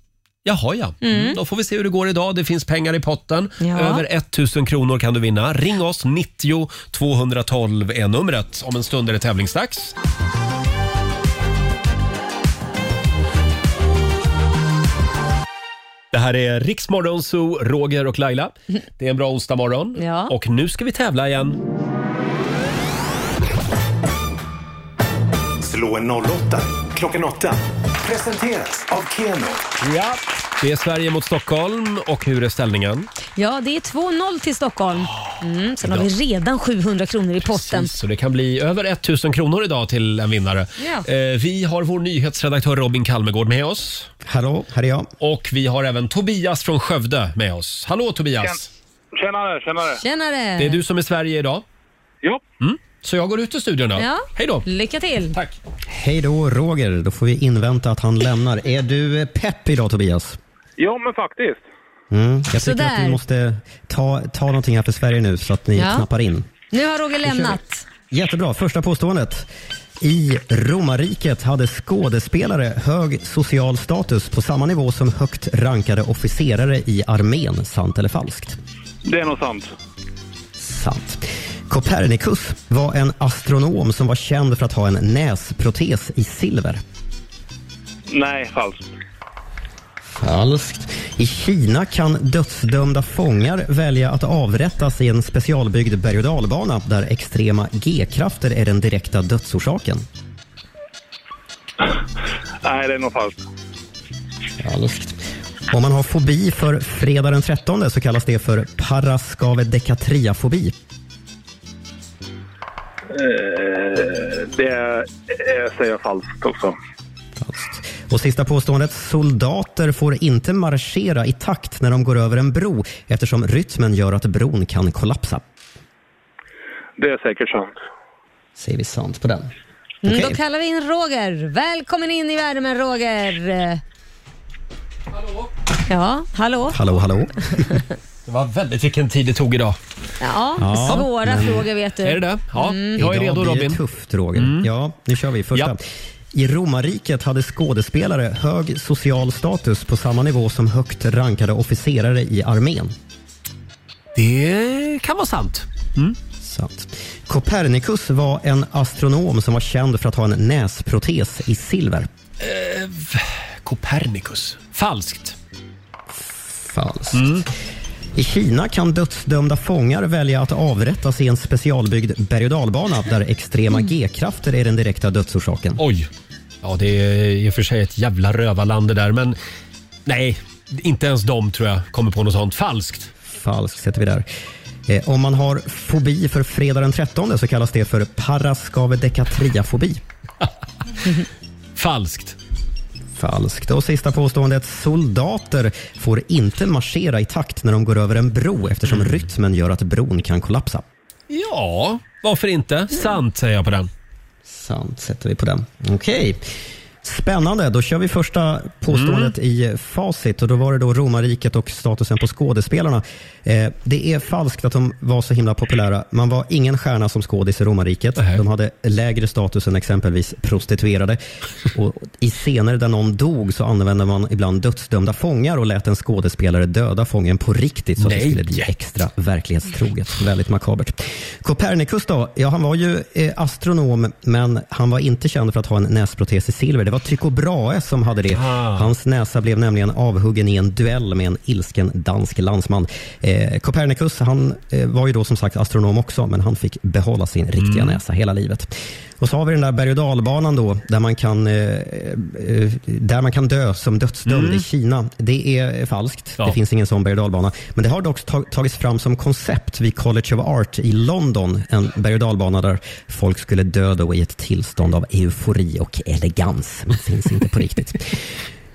S1: Jaha ja. Mm. Då får vi se hur det går idag. Det finns pengar i potten.
S2: Ja.
S1: Över 1000 kronor kan du vinna. Ring oss, 90 212 är numret. Om en stund är det tävlingsdags. Det här är Riksmorgon Zoo, Roger och Laila. Det är en bra onsdagmorgon.
S2: Ja.
S1: Och nu ska vi tävla igen.
S8: Slå en 08 klockan 8. Presenteras av Keno.
S1: Ja. Det är Sverige mot Stockholm. Och hur är ställningen?
S2: Ja, det är 2-0 till Stockholm. Mm, sen har vi redan 700 kronor i potten.
S1: Så det kan bli över 1000 kronor idag till en vinnare.
S2: Ja.
S1: Eh, vi har vår nyhetsredaktör Robin Kalmegård med oss. Hallå, här är jag. Och vi har även Tobias från Skövde med oss. Hallå Tobias!
S17: Tjenare, tjenare.
S2: Tjenare!
S1: Det är du som är Sverige idag.
S17: Ja.
S1: Mm. Så jag går ut ur studion då.
S2: Ja.
S1: Hej då!
S2: Lycka till!
S1: Tack!
S18: Hej då Roger, då får vi invänta att han lämnar. Är du eh, pepp idag Tobias?
S17: Ja, men faktiskt.
S18: Mm. Jag tycker
S2: Sådär.
S18: att du måste ta, ta någonting här för Sverige nu så att ni
S2: Ja.
S18: knappar in.
S2: Nu har Roger lämnat.
S18: Jättebra, första påståendet. I romarriket hade skådespelare hög social status på samma nivå som högt rankade officerare i armén. Sant eller falskt?
S17: Det är nog sant.
S18: Sant. Copernicus var en astronom som var känd för att ha en näsprotes i silver.
S17: Nej, falskt.
S18: Falskt. I Kina kan dödsdömda fångar välja att avrättas i en specialbyggd berg och dalbana där extrema G-krafter är den direkta dödsorsaken.
S17: Nej, det är nog falskt.
S18: Falskt. Om man har fobi för fredag den 13 så kallas det för paraskavedekatriafobi.
S17: Eh, det är, jag säger falskt också.
S18: Och sista påståendet. Soldater får inte marschera i takt när de går över en bro eftersom rytmen gör att bron kan kollapsa.
S17: Det är säkert sant.
S18: Säger vi sant på den?
S2: Mm,
S18: Okej.
S2: Då kallar vi in Roger. Välkommen in i värmen Roger. Hallå? Ja, hallå?
S18: Hallå,
S1: Mm.
S18: hallå.
S1: Det var väldigt vilken tid det tog idag.
S2: Ja,
S18: Ja,
S2: svåra
S18: men-
S2: frågor vet du.
S1: Mm. Är det det? Ja, jag är
S18: Idag
S1: redo
S18: blir
S1: Robin. Mm.
S18: det tufft Roger. Ja, nu kör vi. Första. I romarriket hade skådespelare hög social status på samma nivå som högt rankade officerare i armén.
S1: Det kan vara sant.
S18: Sant. Copernicus var en astronom som var känd för att ha en näsprotes i silver.
S1: Eh, v- Copernicus. Falskt.
S18: Falskt. I Kina kan dödsdömda fångar välja att avrättas i en specialbyggd berg och dalbana där extrema G-krafter är den direkta dödsorsaken.
S1: Oj. Ja, det är i och för sig ett jävla rövarland det där, men nej, inte ens de tror jag kommer på något sånt. Falskt.
S18: Falskt sätter vi där. Eh, Om man har fobi för fredag den 13 så kallas det för paraskavedekatriafobi.
S1: Falskt.
S18: Falskt. Och sista påståendet. Soldater får inte marschera i takt när de går över en bro eftersom rytmen gör att bron kan kollapsa.
S1: Ja, varför inte? Sant säger jag på den.
S18: Sant sätter vi på den. Okej. Spännande. Då kör vi första påståendet i facit. Och då var det då romarriket och statusen på skådespelarna. Eh, det är falskt att de var så himla populära. Man var ingen stjärna som skådis i romarriket. De hade lägre status än exempelvis prostituerade. Och I scener där någon dog så använde man ibland dödsdömda fångar och lät en skådespelare döda fången på riktigt så att det
S1: Nej.
S18: skulle bli extra verklighetstroget. Väldigt makabert. Copernicus då? Ja, han var ju eh, astronom, men han var inte känd för att ha en näsprotes i silver. Det var Tycho Brahe som hade det. Hans näsa blev nämligen avhuggen i en duell med en ilsken dansk landsman. Eh, Copernicus, han eh, var ju då som sagt astronom också, men han fick behålla sin riktiga
S1: Mm.
S18: näsa hela livet. Och så har vi den där berg och dalbanan då, där man kan, eh, eh, där man kan dö som dödsdömd
S1: Mm.
S18: i Kina. Det är falskt.
S1: Ja.
S18: Det finns ingen sån berg och dalbana. Men det har dock ta- tagits fram som koncept vid College of Art i London. En berg och dalbana där folk skulle dö då i ett tillstånd av eufori och elegans. Men finns inte på riktigt.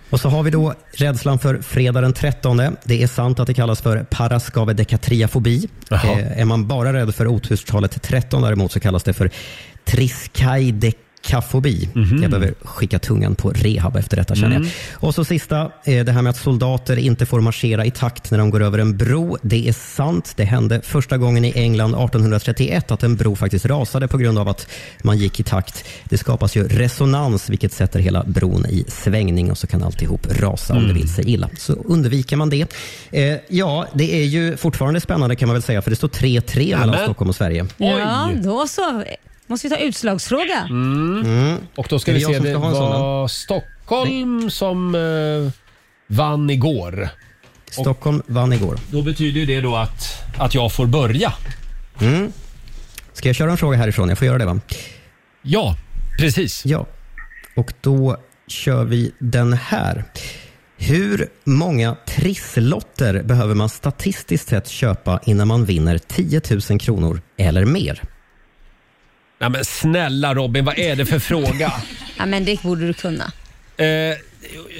S18: Och så har vi då rädslan för fredag den 13. Det är sant att det kallas för paraskavedekatriafobi.
S1: Jaha.
S18: Eh, är man bara rädd för oturstalet 13 däremot så kallas det för triskaidekafobi. Jag behöver skicka tungan på rehab efter detta känner
S1: Mhm. Mm.
S18: jag. Och så sista, eh, det här med att soldater inte får marschera i takt när de går över en bro. Det är sant. Det hände första gången i England 1831 att en bro faktiskt rasade på grund av att man gick i takt. Det skapas ju resonans vilket sätter hela bron i svängning och så kan alltihop rasa om
S1: Mm.
S18: det vill sig illa. Så undviker man det. Eh, ja, det är ju fortfarande spännande kan man väl säga för det står 3-3 mellan
S1: Nämen.
S18: Stockholm och Sverige.
S2: Ja, då så. Måste vi ta utslagsfråga?
S18: Mm.
S1: Och då ska
S18: Är det
S1: vi
S18: jag
S1: se,
S18: som
S1: det
S18: ska ha en sån,
S1: var Stockholm som eh, vann igår.
S18: Stockholm vann igår.
S1: Då betyder ju det då att, att jag får börja.
S18: Mm. Ska jag köra en fråga härifrån? Jag får göra det va?
S1: Ja, precis.
S18: Ja. Och då kör vi den här. Hur många trisslotter behöver man statistiskt sett köpa innan man vinner 10 000 kronor eller mer?
S1: Nej men snälla Robin, vad är det för fråga?
S2: Ja, men det borde du kunna.
S1: Eh,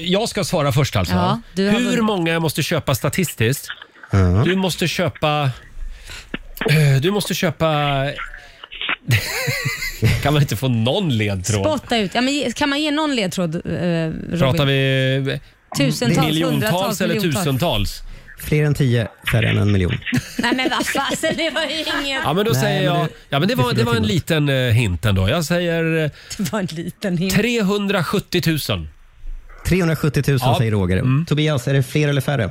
S1: jag ska svara först alltså.
S2: Ja, du har
S1: Hur
S2: vunnit.
S1: många jag måste köpa statistiskt? Du måste köpa... eh, Du måste köpa... kan man inte få någon ledtråd?
S2: Spotta ut. Ja, men ge- kan man ge någon ledtråd, eh, Robin?
S1: Pratar vi
S2: Tusentals,
S1: miljontals
S2: hundratals,
S1: eller
S2: miljontals?
S1: tusentals?
S18: Fler än 10, färre än en miljon.
S2: Nej men vad fasen, det var ju ingen...
S1: Ja, men då säger jag... ja, men det, var, det var en liten eh, hint ändå. Jag säger... eh,
S2: Det var en liten hint.
S1: 370 000.
S18: 370 000
S1: Ja. Mm.
S18: säger Roger. Tobias, är det fler eller färre?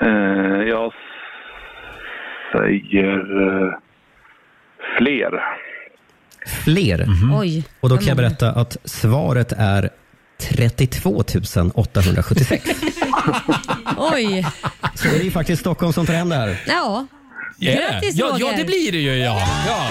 S17: Eh, jag säger eh, fler.
S18: Fler.
S1: Mhm.
S2: Oj.
S18: Och då
S2: Mm.
S18: kan jag berätta att svaret är 32 876.
S2: Oj.
S18: Så det är ju faktiskt Stockholm som tar hem det här.
S2: Ja. Grattis
S1: ja,
S2: Roger.
S1: ja, det blir det ju ja. ja.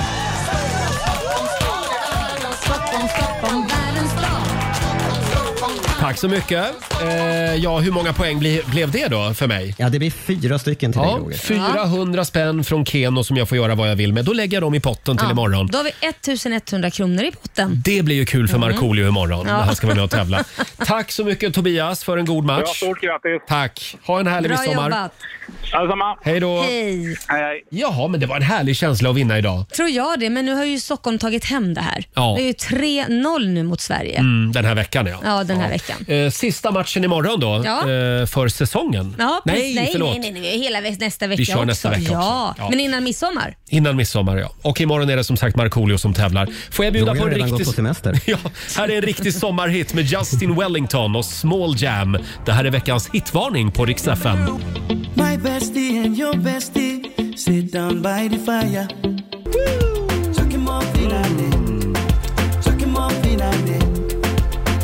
S1: Tack så mycket. Eh, ja, hur många poäng bli, blev det då för mig?
S18: Ja, det blir fyra stycken till dig,
S1: ja,
S18: Roger.
S1: 400 spänn från Keno som jag får göra vad jag vill med. Då lägger jag dem i potten till
S2: Ja,
S1: imorgon.
S2: Då har vi 1100 kronor i potten.
S1: Det blir ju kul för
S2: Mm.
S1: Markoolio imorgon
S2: Ja.
S1: när han ska vara med och tävla. Tack så mycket Tobias för en god match.
S2: Ja,
S1: stort grattis. Tack. Ha en härlig
S2: Bra
S1: midsommar.
S2: jobbat.
S1: Detsamma. Hej då.
S2: Hej.
S1: Hej. Jaha, men det var en härlig känsla att vinna idag.
S2: Tror jag det, men nu har ju Stockholm tagit hem det här.
S1: Ja.
S2: Det är ju 3-0 nu mot Sverige.
S1: Mm, den här veckan ja.
S2: Ja, den här veckan.
S1: Eh, Sista matchen imorgon då,
S2: Ja.
S1: eh, för säsongen.
S2: Ja,
S1: nej,
S2: precis. nej,
S1: förlåt.
S2: nej, nej, nej, hela vä- nästa vecka
S1: kör
S2: också.
S1: nästa vecka också.
S2: Ja.
S1: Ja.
S2: men innan midsommar.
S1: Innan midsommar ja. Och imorgon är det som sagt Markoolio som tävlar. Får jag bjuda
S18: Roger
S1: på
S18: har
S1: en
S18: redan
S1: riktig...
S18: gått på semester.
S1: ja, här är en riktig sommarhit med Justin Wellington och Small Jam. Det här är veckans hitvarning på Rix FM.
S9: My bestie and your bestie sit down by the fire. Chuck him off in a net. Chuck him off in a net.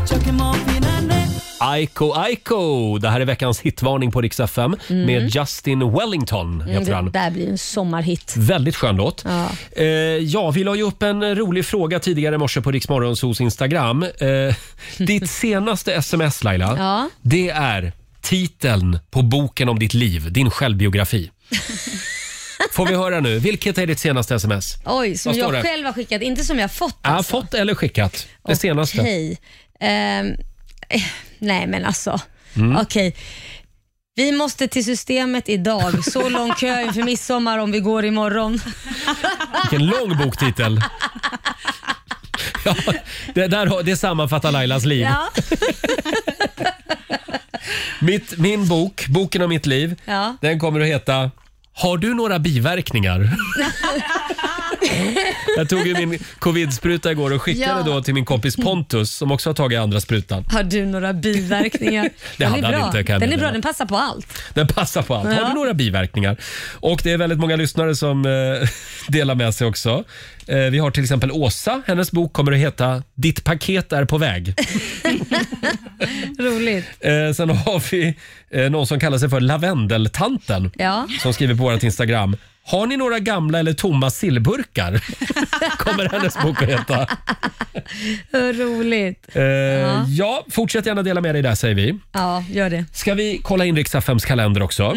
S9: Chuck him off in a net.
S1: Aiko Aiko. Det här är veckans hitvarning på Rix FM
S2: Mm.
S1: med Justin Wellington. Heter
S2: Mm,
S1: han.
S2: det där blir en sommarhit.
S1: Väldigt skön låt.
S2: Ja.
S1: Eh, ja, vi la ju upp en rolig fråga tidigare i morse på Riksmorgonsos Instagram. Eh, ditt senaste sms Laila,
S2: Ja.
S1: det är titeln på boken om ditt liv, din självbiografi. Får vi höra nu, vilket är ditt senaste sms?
S2: Oj, som
S1: Vad står
S2: jag
S1: det?
S2: själv har skickat, inte som jag fått.
S1: Ja, fått eller skickat? Det senaste.
S2: Alltså. Okej. Ehm, eh, nej men alltså,
S1: Mm.
S2: okej. Vi måste till systemet idag. Så lång kö inför midsommar om vi går imorgon.
S1: Vilken lång boktitel. Ja, det, där, har- det sammanfattar Lailas liv.
S2: Ja,
S1: Mitt, min bok, boken om mitt liv,
S2: ja.
S1: den kommer att heta Har du några biverkningar? Jag tog ju min covid-spruta igår och skickade
S2: Ja.
S1: då till min kompis Pontus som också har tagit andra sprutan.
S2: Har du några biverkningar? Den
S1: hade han
S2: är bra.
S1: inte, kan jag
S2: Den är
S1: meddela.
S2: bra, den passar på allt.
S1: Den passar på allt. Har
S2: Ja.
S1: du några biverkningar? Och det är väldigt många lyssnare som eh, delar med sig också. Eh, vi har till exempel Åsa. Hennes bok kommer att heta Ditt paket är på väg.
S2: Roligt.
S1: Eh, sen har vi eh, någon som kallar sig för Lavendeltanten
S2: Ja.
S1: som skriver på vårt Instagram. Har ni några gamla eller tomma sillburkar? Kommer hennes bok att heta.
S2: Roligt.
S1: Eh, ja. fortsätt gärna dela med dig där säger vi.
S2: Ja, gör det.
S1: Ska vi kolla in Riks-FMs kalender också?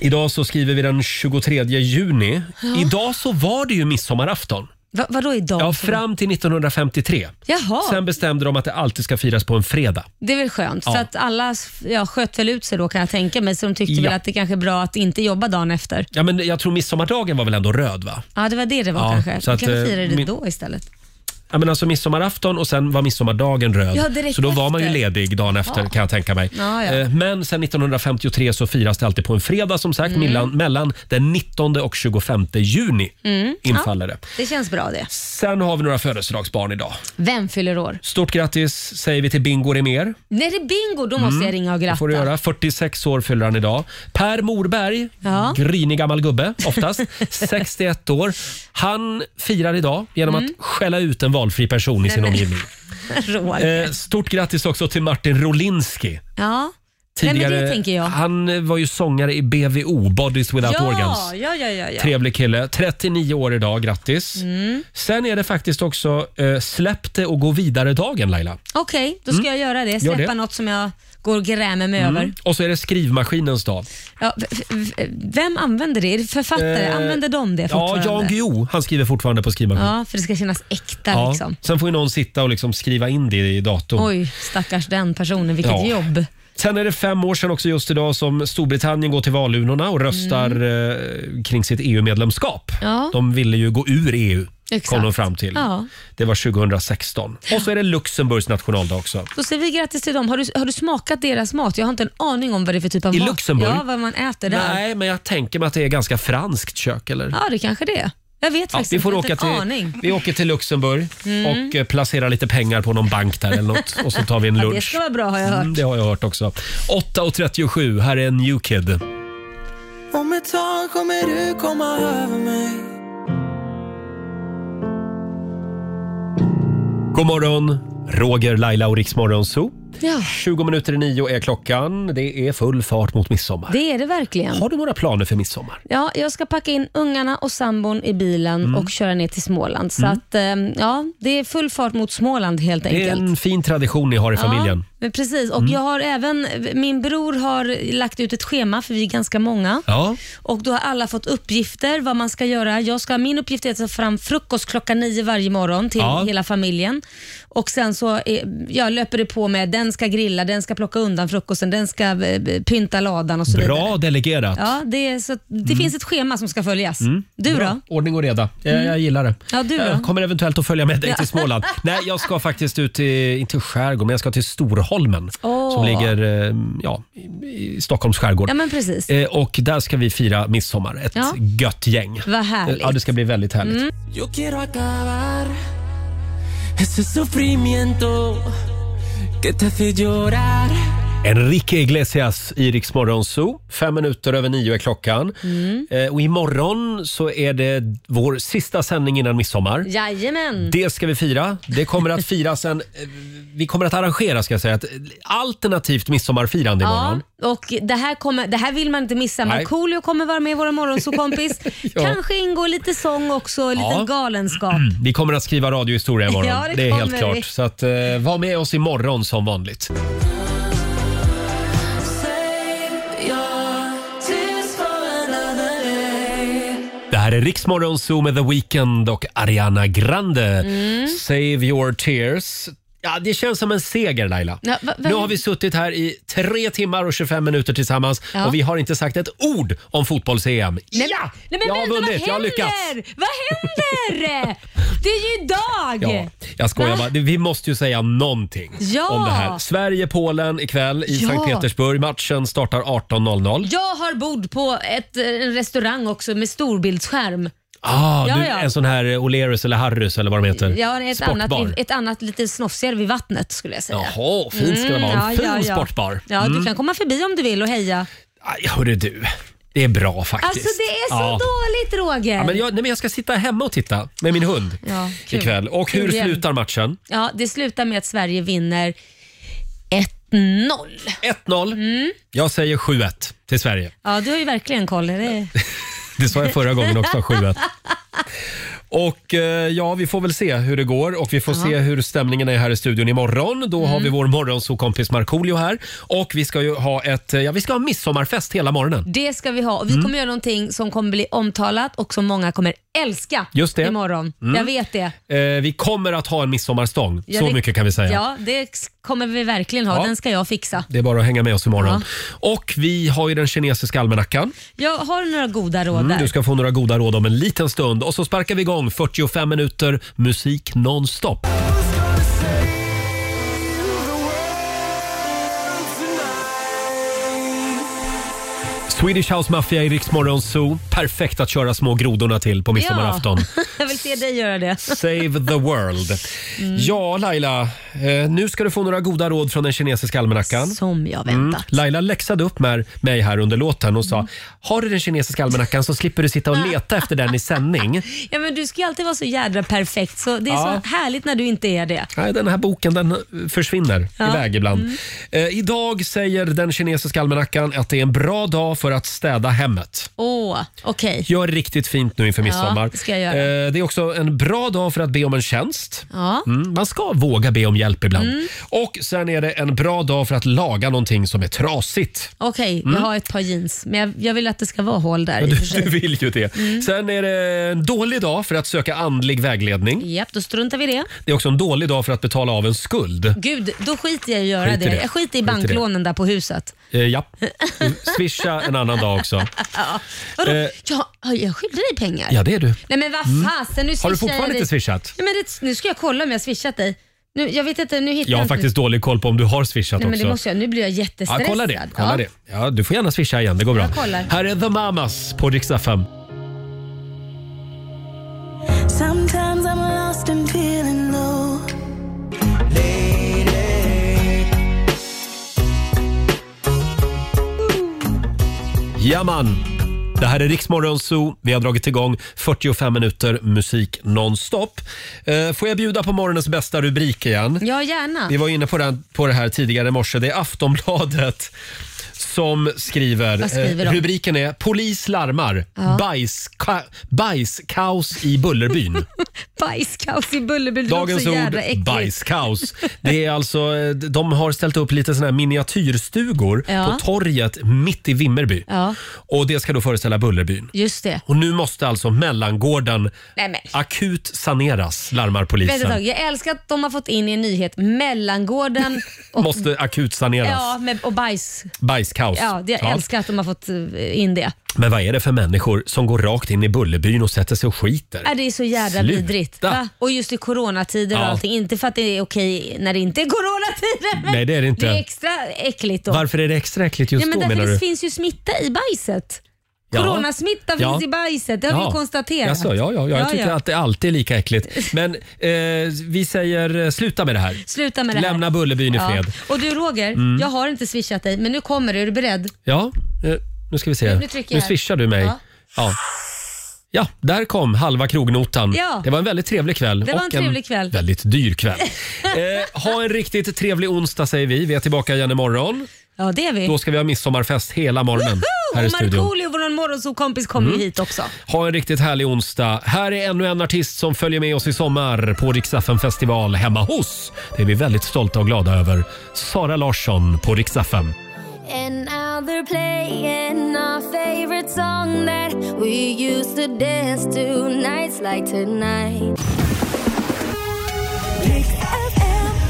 S1: Idag så skriver vi den 23 juni.
S2: Ja.
S1: Idag så var det ju midsommarafton.
S2: Va, vadå idag?
S1: Ja, fram till 1953.
S2: Jaha,
S1: Sen bestämde de att det alltid ska firas på en fredag.
S2: det är väl skönt.
S1: Ja.
S2: För att alla ja, sköt väl ut sig då kan jag tänka mig, så de tyckte
S1: Ja.
S2: väl att det kanske är bra att inte jobba dagen efter.
S1: Ja, men jag tror midsommardagen var väl ändå röd va?
S2: Ja, det var det det var
S1: Ja,
S2: kanske.
S1: så
S2: Så
S1: att,
S2: att, kanske
S1: eh,
S2: firade det
S1: min-
S2: då istället.
S1: Ja, men alltså midsommarafton och sen var midsommardagen röd.
S2: Ja, direkt
S1: så då var man ju
S2: efter.
S1: ledig dagen efter
S2: Ja.
S1: kan jag tänka mig.
S2: Ja, ja.
S1: Eh, Men sen 1953 så firas det alltid på en fredag som sagt, mellan, mellan den 19 och 25 juni
S2: Mm.
S1: infaller
S2: ja,
S1: det.
S2: det känns bra det.
S1: Sen har vi några födelsedagsbarn idag.
S2: Vem fyller år?
S1: Stort grattis säger vi till Bingo Rimér.
S2: När det är bingo, då måste
S1: Mm.
S2: jag ringa och
S1: Det
S2: gratta.
S1: får du göra. 46 år fyller han idag. Per Morberg,
S2: Ja.
S1: grinig gammal gubbe oftast, 61 år. Han firar idag genom
S2: Mm.
S1: att skälla ut en valfri person i
S2: Nej,
S1: sin
S2: men-
S1: omgivning.
S2: Roger.
S1: Eh, stort grattis också till Martin Rolinski.
S2: Ja. Nej,
S1: Tidigare,
S2: men det tänker jag.
S1: Han eh, var ju sångare i BVO, Bodies Without
S2: ja,
S1: Organs.
S2: ja, ja, ja, ja.
S1: Trevlig kille. 39 år idag, grattis.
S2: Mm.
S1: Sen är det faktiskt också eh, släpp det och gå vidare-dagen Laila.
S2: Okej, då ska
S1: Mm.
S2: jag göra det.
S1: Gör
S2: Släppa
S1: det.
S2: något som jag går och grämer mig över.
S1: Mm. Och så är det skrivmaskinens dag.
S2: Ja, v- v- v- vem använder det? Är det författare?
S1: Eh,
S2: använder de det
S1: Ja,
S2: fortfarande?
S1: Jan Guillou, han skriver fortfarande på skrivmaskin.
S2: Ja, för det ska kännas äkta
S1: Ja.
S2: liksom.
S1: Sen får ju någon sitta och liksom skriva in det i datorn.
S2: Oj, stackars den personen. Vilket
S1: Ja.
S2: jobb.
S1: Sen är det fem år sedan också just idag som Storbritannien går till valurnorna och röstar eh, kring sitt EU-medlemskap.
S2: Mm. Ja.
S1: De ville ju gå ur EU, kom
S2: Exakt.
S1: de fram till.
S2: Ja.
S1: Det var 2016. Och så är det Luxemburgs nationaldag också.
S2: Då säger vi grattis till dem. Har du, har du smakat deras mat? Jag har inte en aning om vad det är för typ av
S1: I
S2: mat.
S1: Luxemburg?
S2: Ja, vad man äter där.
S1: Nej, men jag tänker mig att det är ganska franskt kök. Eller?
S2: Ja, det kanske det är. Jag vet
S1: Ja,
S2: faktiskt
S1: vi, får
S2: inte.
S1: åka
S2: Jag har inte en
S1: till,
S2: aning.
S1: vi åker till Luxemburg
S2: Mm.
S1: och eh, placerar lite pengar på någon bank där eller något och så tar vi en
S2: Ja, det
S1: lunch.
S2: ska vara bra har jag hört.
S1: Mm, det har jag hört också. 8.37, här är New Kid.
S9: Om ett tag kommer du komma över mig
S1: God morgon, Roger, Laila och Riksmorgon Zoo.
S2: Ja.
S1: 20 minuter i nio är klockan. Det är full fart mot midsommar.
S2: Det är det verkligen.
S1: Har du några planer för midsommar?
S2: Ja, jag ska packa in ungarna och sambon i bilen
S1: Mm.
S2: och köra ner till Småland. Så
S1: Mm.
S2: att, ehm, ja, det är full fart mot Småland helt enkelt.
S1: Det är en fin tradition ni har i familjen.
S2: Ja, men precis. Och
S1: Mm.
S2: jag har även, min bror har lagt ut ett schema, för vi är ganska många.
S1: Ja.
S2: Och Då har alla fått uppgifter vad man ska göra. Jag ska, min uppgift är att ta fram frukost klockan nio varje morgon till
S7: Ja.
S2: hela familjen. Och Sen så är, jag löper det på med den ska grilla, den ska plocka undan frukosten, den ska eh, pynta ladan och så vidare.
S1: Bra delegerat.
S2: Ja, det är, så, det finns ett schema som ska följas.
S1: Mm.
S2: Du
S1: Bra.
S2: då?
S1: Ordning och reda. Jag,
S2: Mm.
S1: jag gillar det.
S2: Ja, du då?
S1: Jag kommer eventuellt att följa med dig
S2: Ja.
S1: till Småland. Nej, jag ska faktiskt ut i, inte skärgården, men jag ska till Storholmen
S2: Åh.
S1: som ligger eh, ja, i- i Stockholms skärgård.
S2: Ja, men precis.
S1: Eh, Och där ska vi fira midsommar. Ett
S2: Ja.
S1: gött gäng.
S2: Vad härligt.
S1: eh, Ja, det ska bli väldigt härligt.
S2: Mm.
S9: Yo quiero acabar ese sufrimiento que te hace llorar.
S1: Enrique Iglesias i Rix Morgon Zoo. Fem minuter över nio är klockan.
S2: Mm.
S1: Eh, och imorgon så är det vår sista sändning innan midsommar.
S2: Jajamän.
S1: Det ska vi fira. Det kommer att firas en... eh, Vi kommer att arrangera ska jag säga, ett alternativt midsommarfirande imorgon.
S2: Ja, och det här, kommer, det här vill man inte missa.
S1: Nej.
S2: Markoolio kommer vara med i våra morgonsåkompis.
S1: Ja.
S2: Kanske ingår lite sång också, lite
S1: Ja. Mm.
S2: galenskap.
S1: Vi kommer att skriva radiohistoria imorgon.
S2: Ja, det
S1: det är
S2: kommer
S1: helt
S2: vi.
S1: klart. Så att, eh, var med oss imorgon som vanligt. Det här är Riksmorgon Zoo med The Weeknd och Ariana Grande.
S2: Mm.
S1: Save your tears. Ja, det känns som en seger Laila.
S2: Ja, va- va-
S1: nu har vi suttit här i tre timmar och 25 minuter tillsammans
S2: Ja.
S1: och vi har inte sagt ett ord om fotbolls-EM.
S2: Nej,
S1: ja!
S2: Nej, men
S1: jag har
S2: vänta,
S1: vunnit, jag har
S2: vad
S1: lyckats.
S2: händer? Vad händer? Det är ju idag!
S1: Ja, jag skojar bara. Vi måste ju säga någonting
S2: Ja.
S1: om det här. Sverige-Polen ikväll i
S2: Ja.
S1: Sankt Petersburg. Matchen startar 18.00.
S2: Jag har bord på ett, eh, en restaurang också med storbildsskärm.
S1: Ah,
S2: Ja,
S1: du,
S2: ja.
S1: En sån här eh, O'Learys eller Harrys eller vad de heter.
S2: Jag har ett
S1: Sportbar.
S2: annat, ett annat lite snofsigare vid vattnet skulle jag säga.
S1: Jaha, fint ska det vara. En fin sportbar.
S2: Mm, Ja,
S1: Mm.
S2: du kan komma förbi om du vill och heja.
S1: Aj, Hörru du, det är bra faktiskt.
S2: Alltså det är så
S1: Ja.
S2: dåligt Roger.
S1: Ja, men jag, nej, men jag ska sitta hemma och titta med min hund
S2: Ja, kul.
S1: ikväll. Och hur
S2: Kul igen.
S1: slutar matchen?
S2: Ja, det slutar med att Sverige vinner 1-0.
S1: 1-0.
S2: Mm.
S1: Jag säger 7-1 till Sverige.
S2: Ja, du har ju verkligen koll. Det är-
S1: Det sa jag förra gången också, 7-1. Och eh, ja, vi får väl se hur det går och vi får
S2: Ja.
S1: se hur stämningen är här i studion imorgon. Då har
S2: Mm.
S1: vi vår morgonsokompis Markoolio här och vi ska ju ha ett, eh, ja vi ska ha midsommarfest hela morgonen.
S2: Det ska vi ha. Och vi
S1: Mm.
S2: kommer göra någonting som kommer bli omtalat och som många kommer älska
S1: Just det.
S2: imorgon.
S1: Mm.
S2: Jag vet det.
S1: Eh, vi kommer att ha en midsommarstång,
S2: Ja,
S1: så
S2: det-
S1: mycket kan vi säga.
S2: Ja, det kommer vi verkligen ha.
S1: Ja.
S2: Den ska jag fixa.
S1: Det är bara att hänga med oss imorgon. Och vi har ju den kinesiska almanackan.
S2: Jag har några goda råd
S1: Mm,
S2: där.
S1: du ska få några goda råd om en liten stund. Och så sparkar vi igång 45 minuter musik nonstop. Swedish House Mafia i Rix Morgon Zoo. Perfekt att köra små grodorna till på midsommarafton.
S2: Ja. jag vill se dig göra det.
S1: Save the world. Ja, Laila. eh, Nu ska du få några goda råd från den kinesiska almanackan.
S2: Som jag väntat.
S1: Mm. Laila läxade upp med mig här under låten och sa
S2: Mm.
S1: har du den kinesiska almanackan så slipper du sitta och leta efter den i sändning.
S2: Ja, men du ska ju alltid vara så jädra perfekt, så det är
S1: Ja.
S2: så härligt när du inte är det.
S1: Nej, den här boken den försvinner
S2: Ja.
S1: iväg ibland.
S2: Mm.
S1: Eh, idag säger den kinesiska almanackan att det är en bra dag för att städa hemmet.
S2: Åh, okej.
S1: Gör riktigt fint nu inför
S2: Ja,
S1: midsommar.
S2: det ska jag göra.
S1: Eh, det är också en bra dag för att be om en tjänst.
S2: Ja.
S1: Mm, man ska våga be om hjälp ibland.
S2: Mm.
S1: Och sen är det en bra dag för att laga någonting som är trasigt.
S2: Okej,
S1: Mm.
S2: jag har ett par jeans, men jag, jag vill att det ska vara hål
S1: Ja,
S2: där i och
S1: du,
S2: för sig.
S1: du vill ju det.
S2: Mm.
S1: Sen är det en dålig dag för att söka andlig vägledning.
S2: Japp, då struntar vi i det.
S1: Det är också en dålig dag för att betala av en skuld.
S2: Gud, då skiter jag i att göra
S1: Skit i
S2: det.
S1: det.
S2: Jag skiter
S1: Skit i
S2: i
S1: det.
S2: banklånen där på huset.
S1: Eh, ja. Swisha en annan dag också.
S2: Ja. Vadå?
S1: Eh.
S2: Ja, oj, jag skyller dig pengar.
S1: Ja, det är du.
S2: Nej men vad
S1: Mm.
S2: fasen, nu
S1: Har du
S2: swishar jag
S1: fortfarande
S2: dig.
S1: inte swishat?
S2: Nej, men det, nu ska jag kolla om jag swishat dig. Nu, jag vet inte, nu hittar
S1: Jag har
S2: inte-
S1: faktiskt dålig koll på om du har swishat
S2: Nej, men
S1: också.
S2: det måste jag, nu blir jag
S1: ja,
S2: jättestressad.
S1: kolla det. Kolla
S2: Ja.
S1: det. Ja, du får gärna swisha igen, det går bra.
S2: Jag kollar.
S1: Här är The Mamas på riksdag 5.
S7: Sometimes I'm lost and feeling low.
S1: Jaman! Det här är Riksmorgon Zoo. Vi har dragit igång 45 minuter musik nonstop. Eh, Får jag bjuda på morgonens bästa rubrik igen?
S2: Ja, gärna.
S1: Vi var inne på det, på det här tidigare i morse. Det är Aftonbladet som skriver.
S2: Vad skriver
S1: eh,
S2: de?
S1: rubriken är “Polis larmar.
S2: Ja.
S1: Bajska, bajskaos i Bullerbyn”.
S2: Bajskaos i Bullerby, det låter
S1: Dagens
S2: så
S1: ord,
S2: jädra äckligt.
S1: bajskaos. Det är alltså, eh, de har ställt upp lite såna här miniatyrstugor
S2: Ja.
S1: på torget mitt i Vimmerby.
S2: Ja,
S1: Och Det ska då föreställa Bullerbyn.
S2: just det.
S1: Och Nu måste alltså mellangården
S2: Nej, men.
S1: akut saneras, larmar
S2: Vänta ett tag.
S1: polisen.
S2: Jag älskar att de har fått in i en nyhet mellangården och,
S1: Måste akut saneras.
S2: ja, med, och bajs.
S1: Bajskaos.
S2: Ja, det, jag
S1: Ja.
S2: älskar att de har fått eh, in det.
S1: Men vad är det för människor som går rakt in i Bullerbyn och sätter sig och skiter?
S2: Äh, det är så jädra
S1: Sluta.
S2: vidrigt. Va? Och just i coronatider och
S1: Ja.
S2: allting. Inte för att det är okej när det inte är coronatider. men
S1: Nej, det är det inte.
S2: Det är extra äckligt då.
S1: Varför är det extra äckligt just
S2: ja, men
S1: då
S2: därför
S1: menar
S2: det
S1: du?
S2: finns ju smitta i bajset.
S1: Ja.
S2: Coronasmitta finns
S1: Ja.
S2: i bajset, det har vi konstaterat.
S1: Jaså, ja, ja, ja. Jag tycker att det alltid är lika äckligt. Men eh, vi säger eh, sluta med det här.
S2: Sluta med det här.
S1: Lämna Bullerbyn i fred.
S2: Och du Roger,
S1: Mm.
S2: jag har inte swishat dig, men nu kommer det. Är du beredd?
S1: Ja, eh, nu ska vi se.
S2: Nu
S1: Nu,
S2: trycker jag här.
S1: swishar du mig.
S2: Ja.
S1: Ja. ja. där kom halva krognotan.
S2: Ja.
S1: Det var en väldigt trevlig kväll.
S2: Det var en
S1: och
S2: trevlig kväll.
S1: väldigt dyr kväll. eh, ha en riktigt trevlig onsdag säger vi. Vi är tillbaka igen imorgon.
S2: Ja, det är vi.
S1: Då ska vi ha midsommarfest hela morgonen här i
S2: Och
S1: studion.
S2: Markoolio, vår morgonsovkompis, kommer
S1: Mm.
S2: ju hit också.
S1: Ha en riktigt härlig onsdag. Här är ännu en artist som följer med oss i sommar på Riksdagen festival hemma hos. Det är vi väldigt stolta och glada över. Sara Larsson på Riksdagen.
S7: And now they're playing our favorite song that we used to dance to nights like tonight.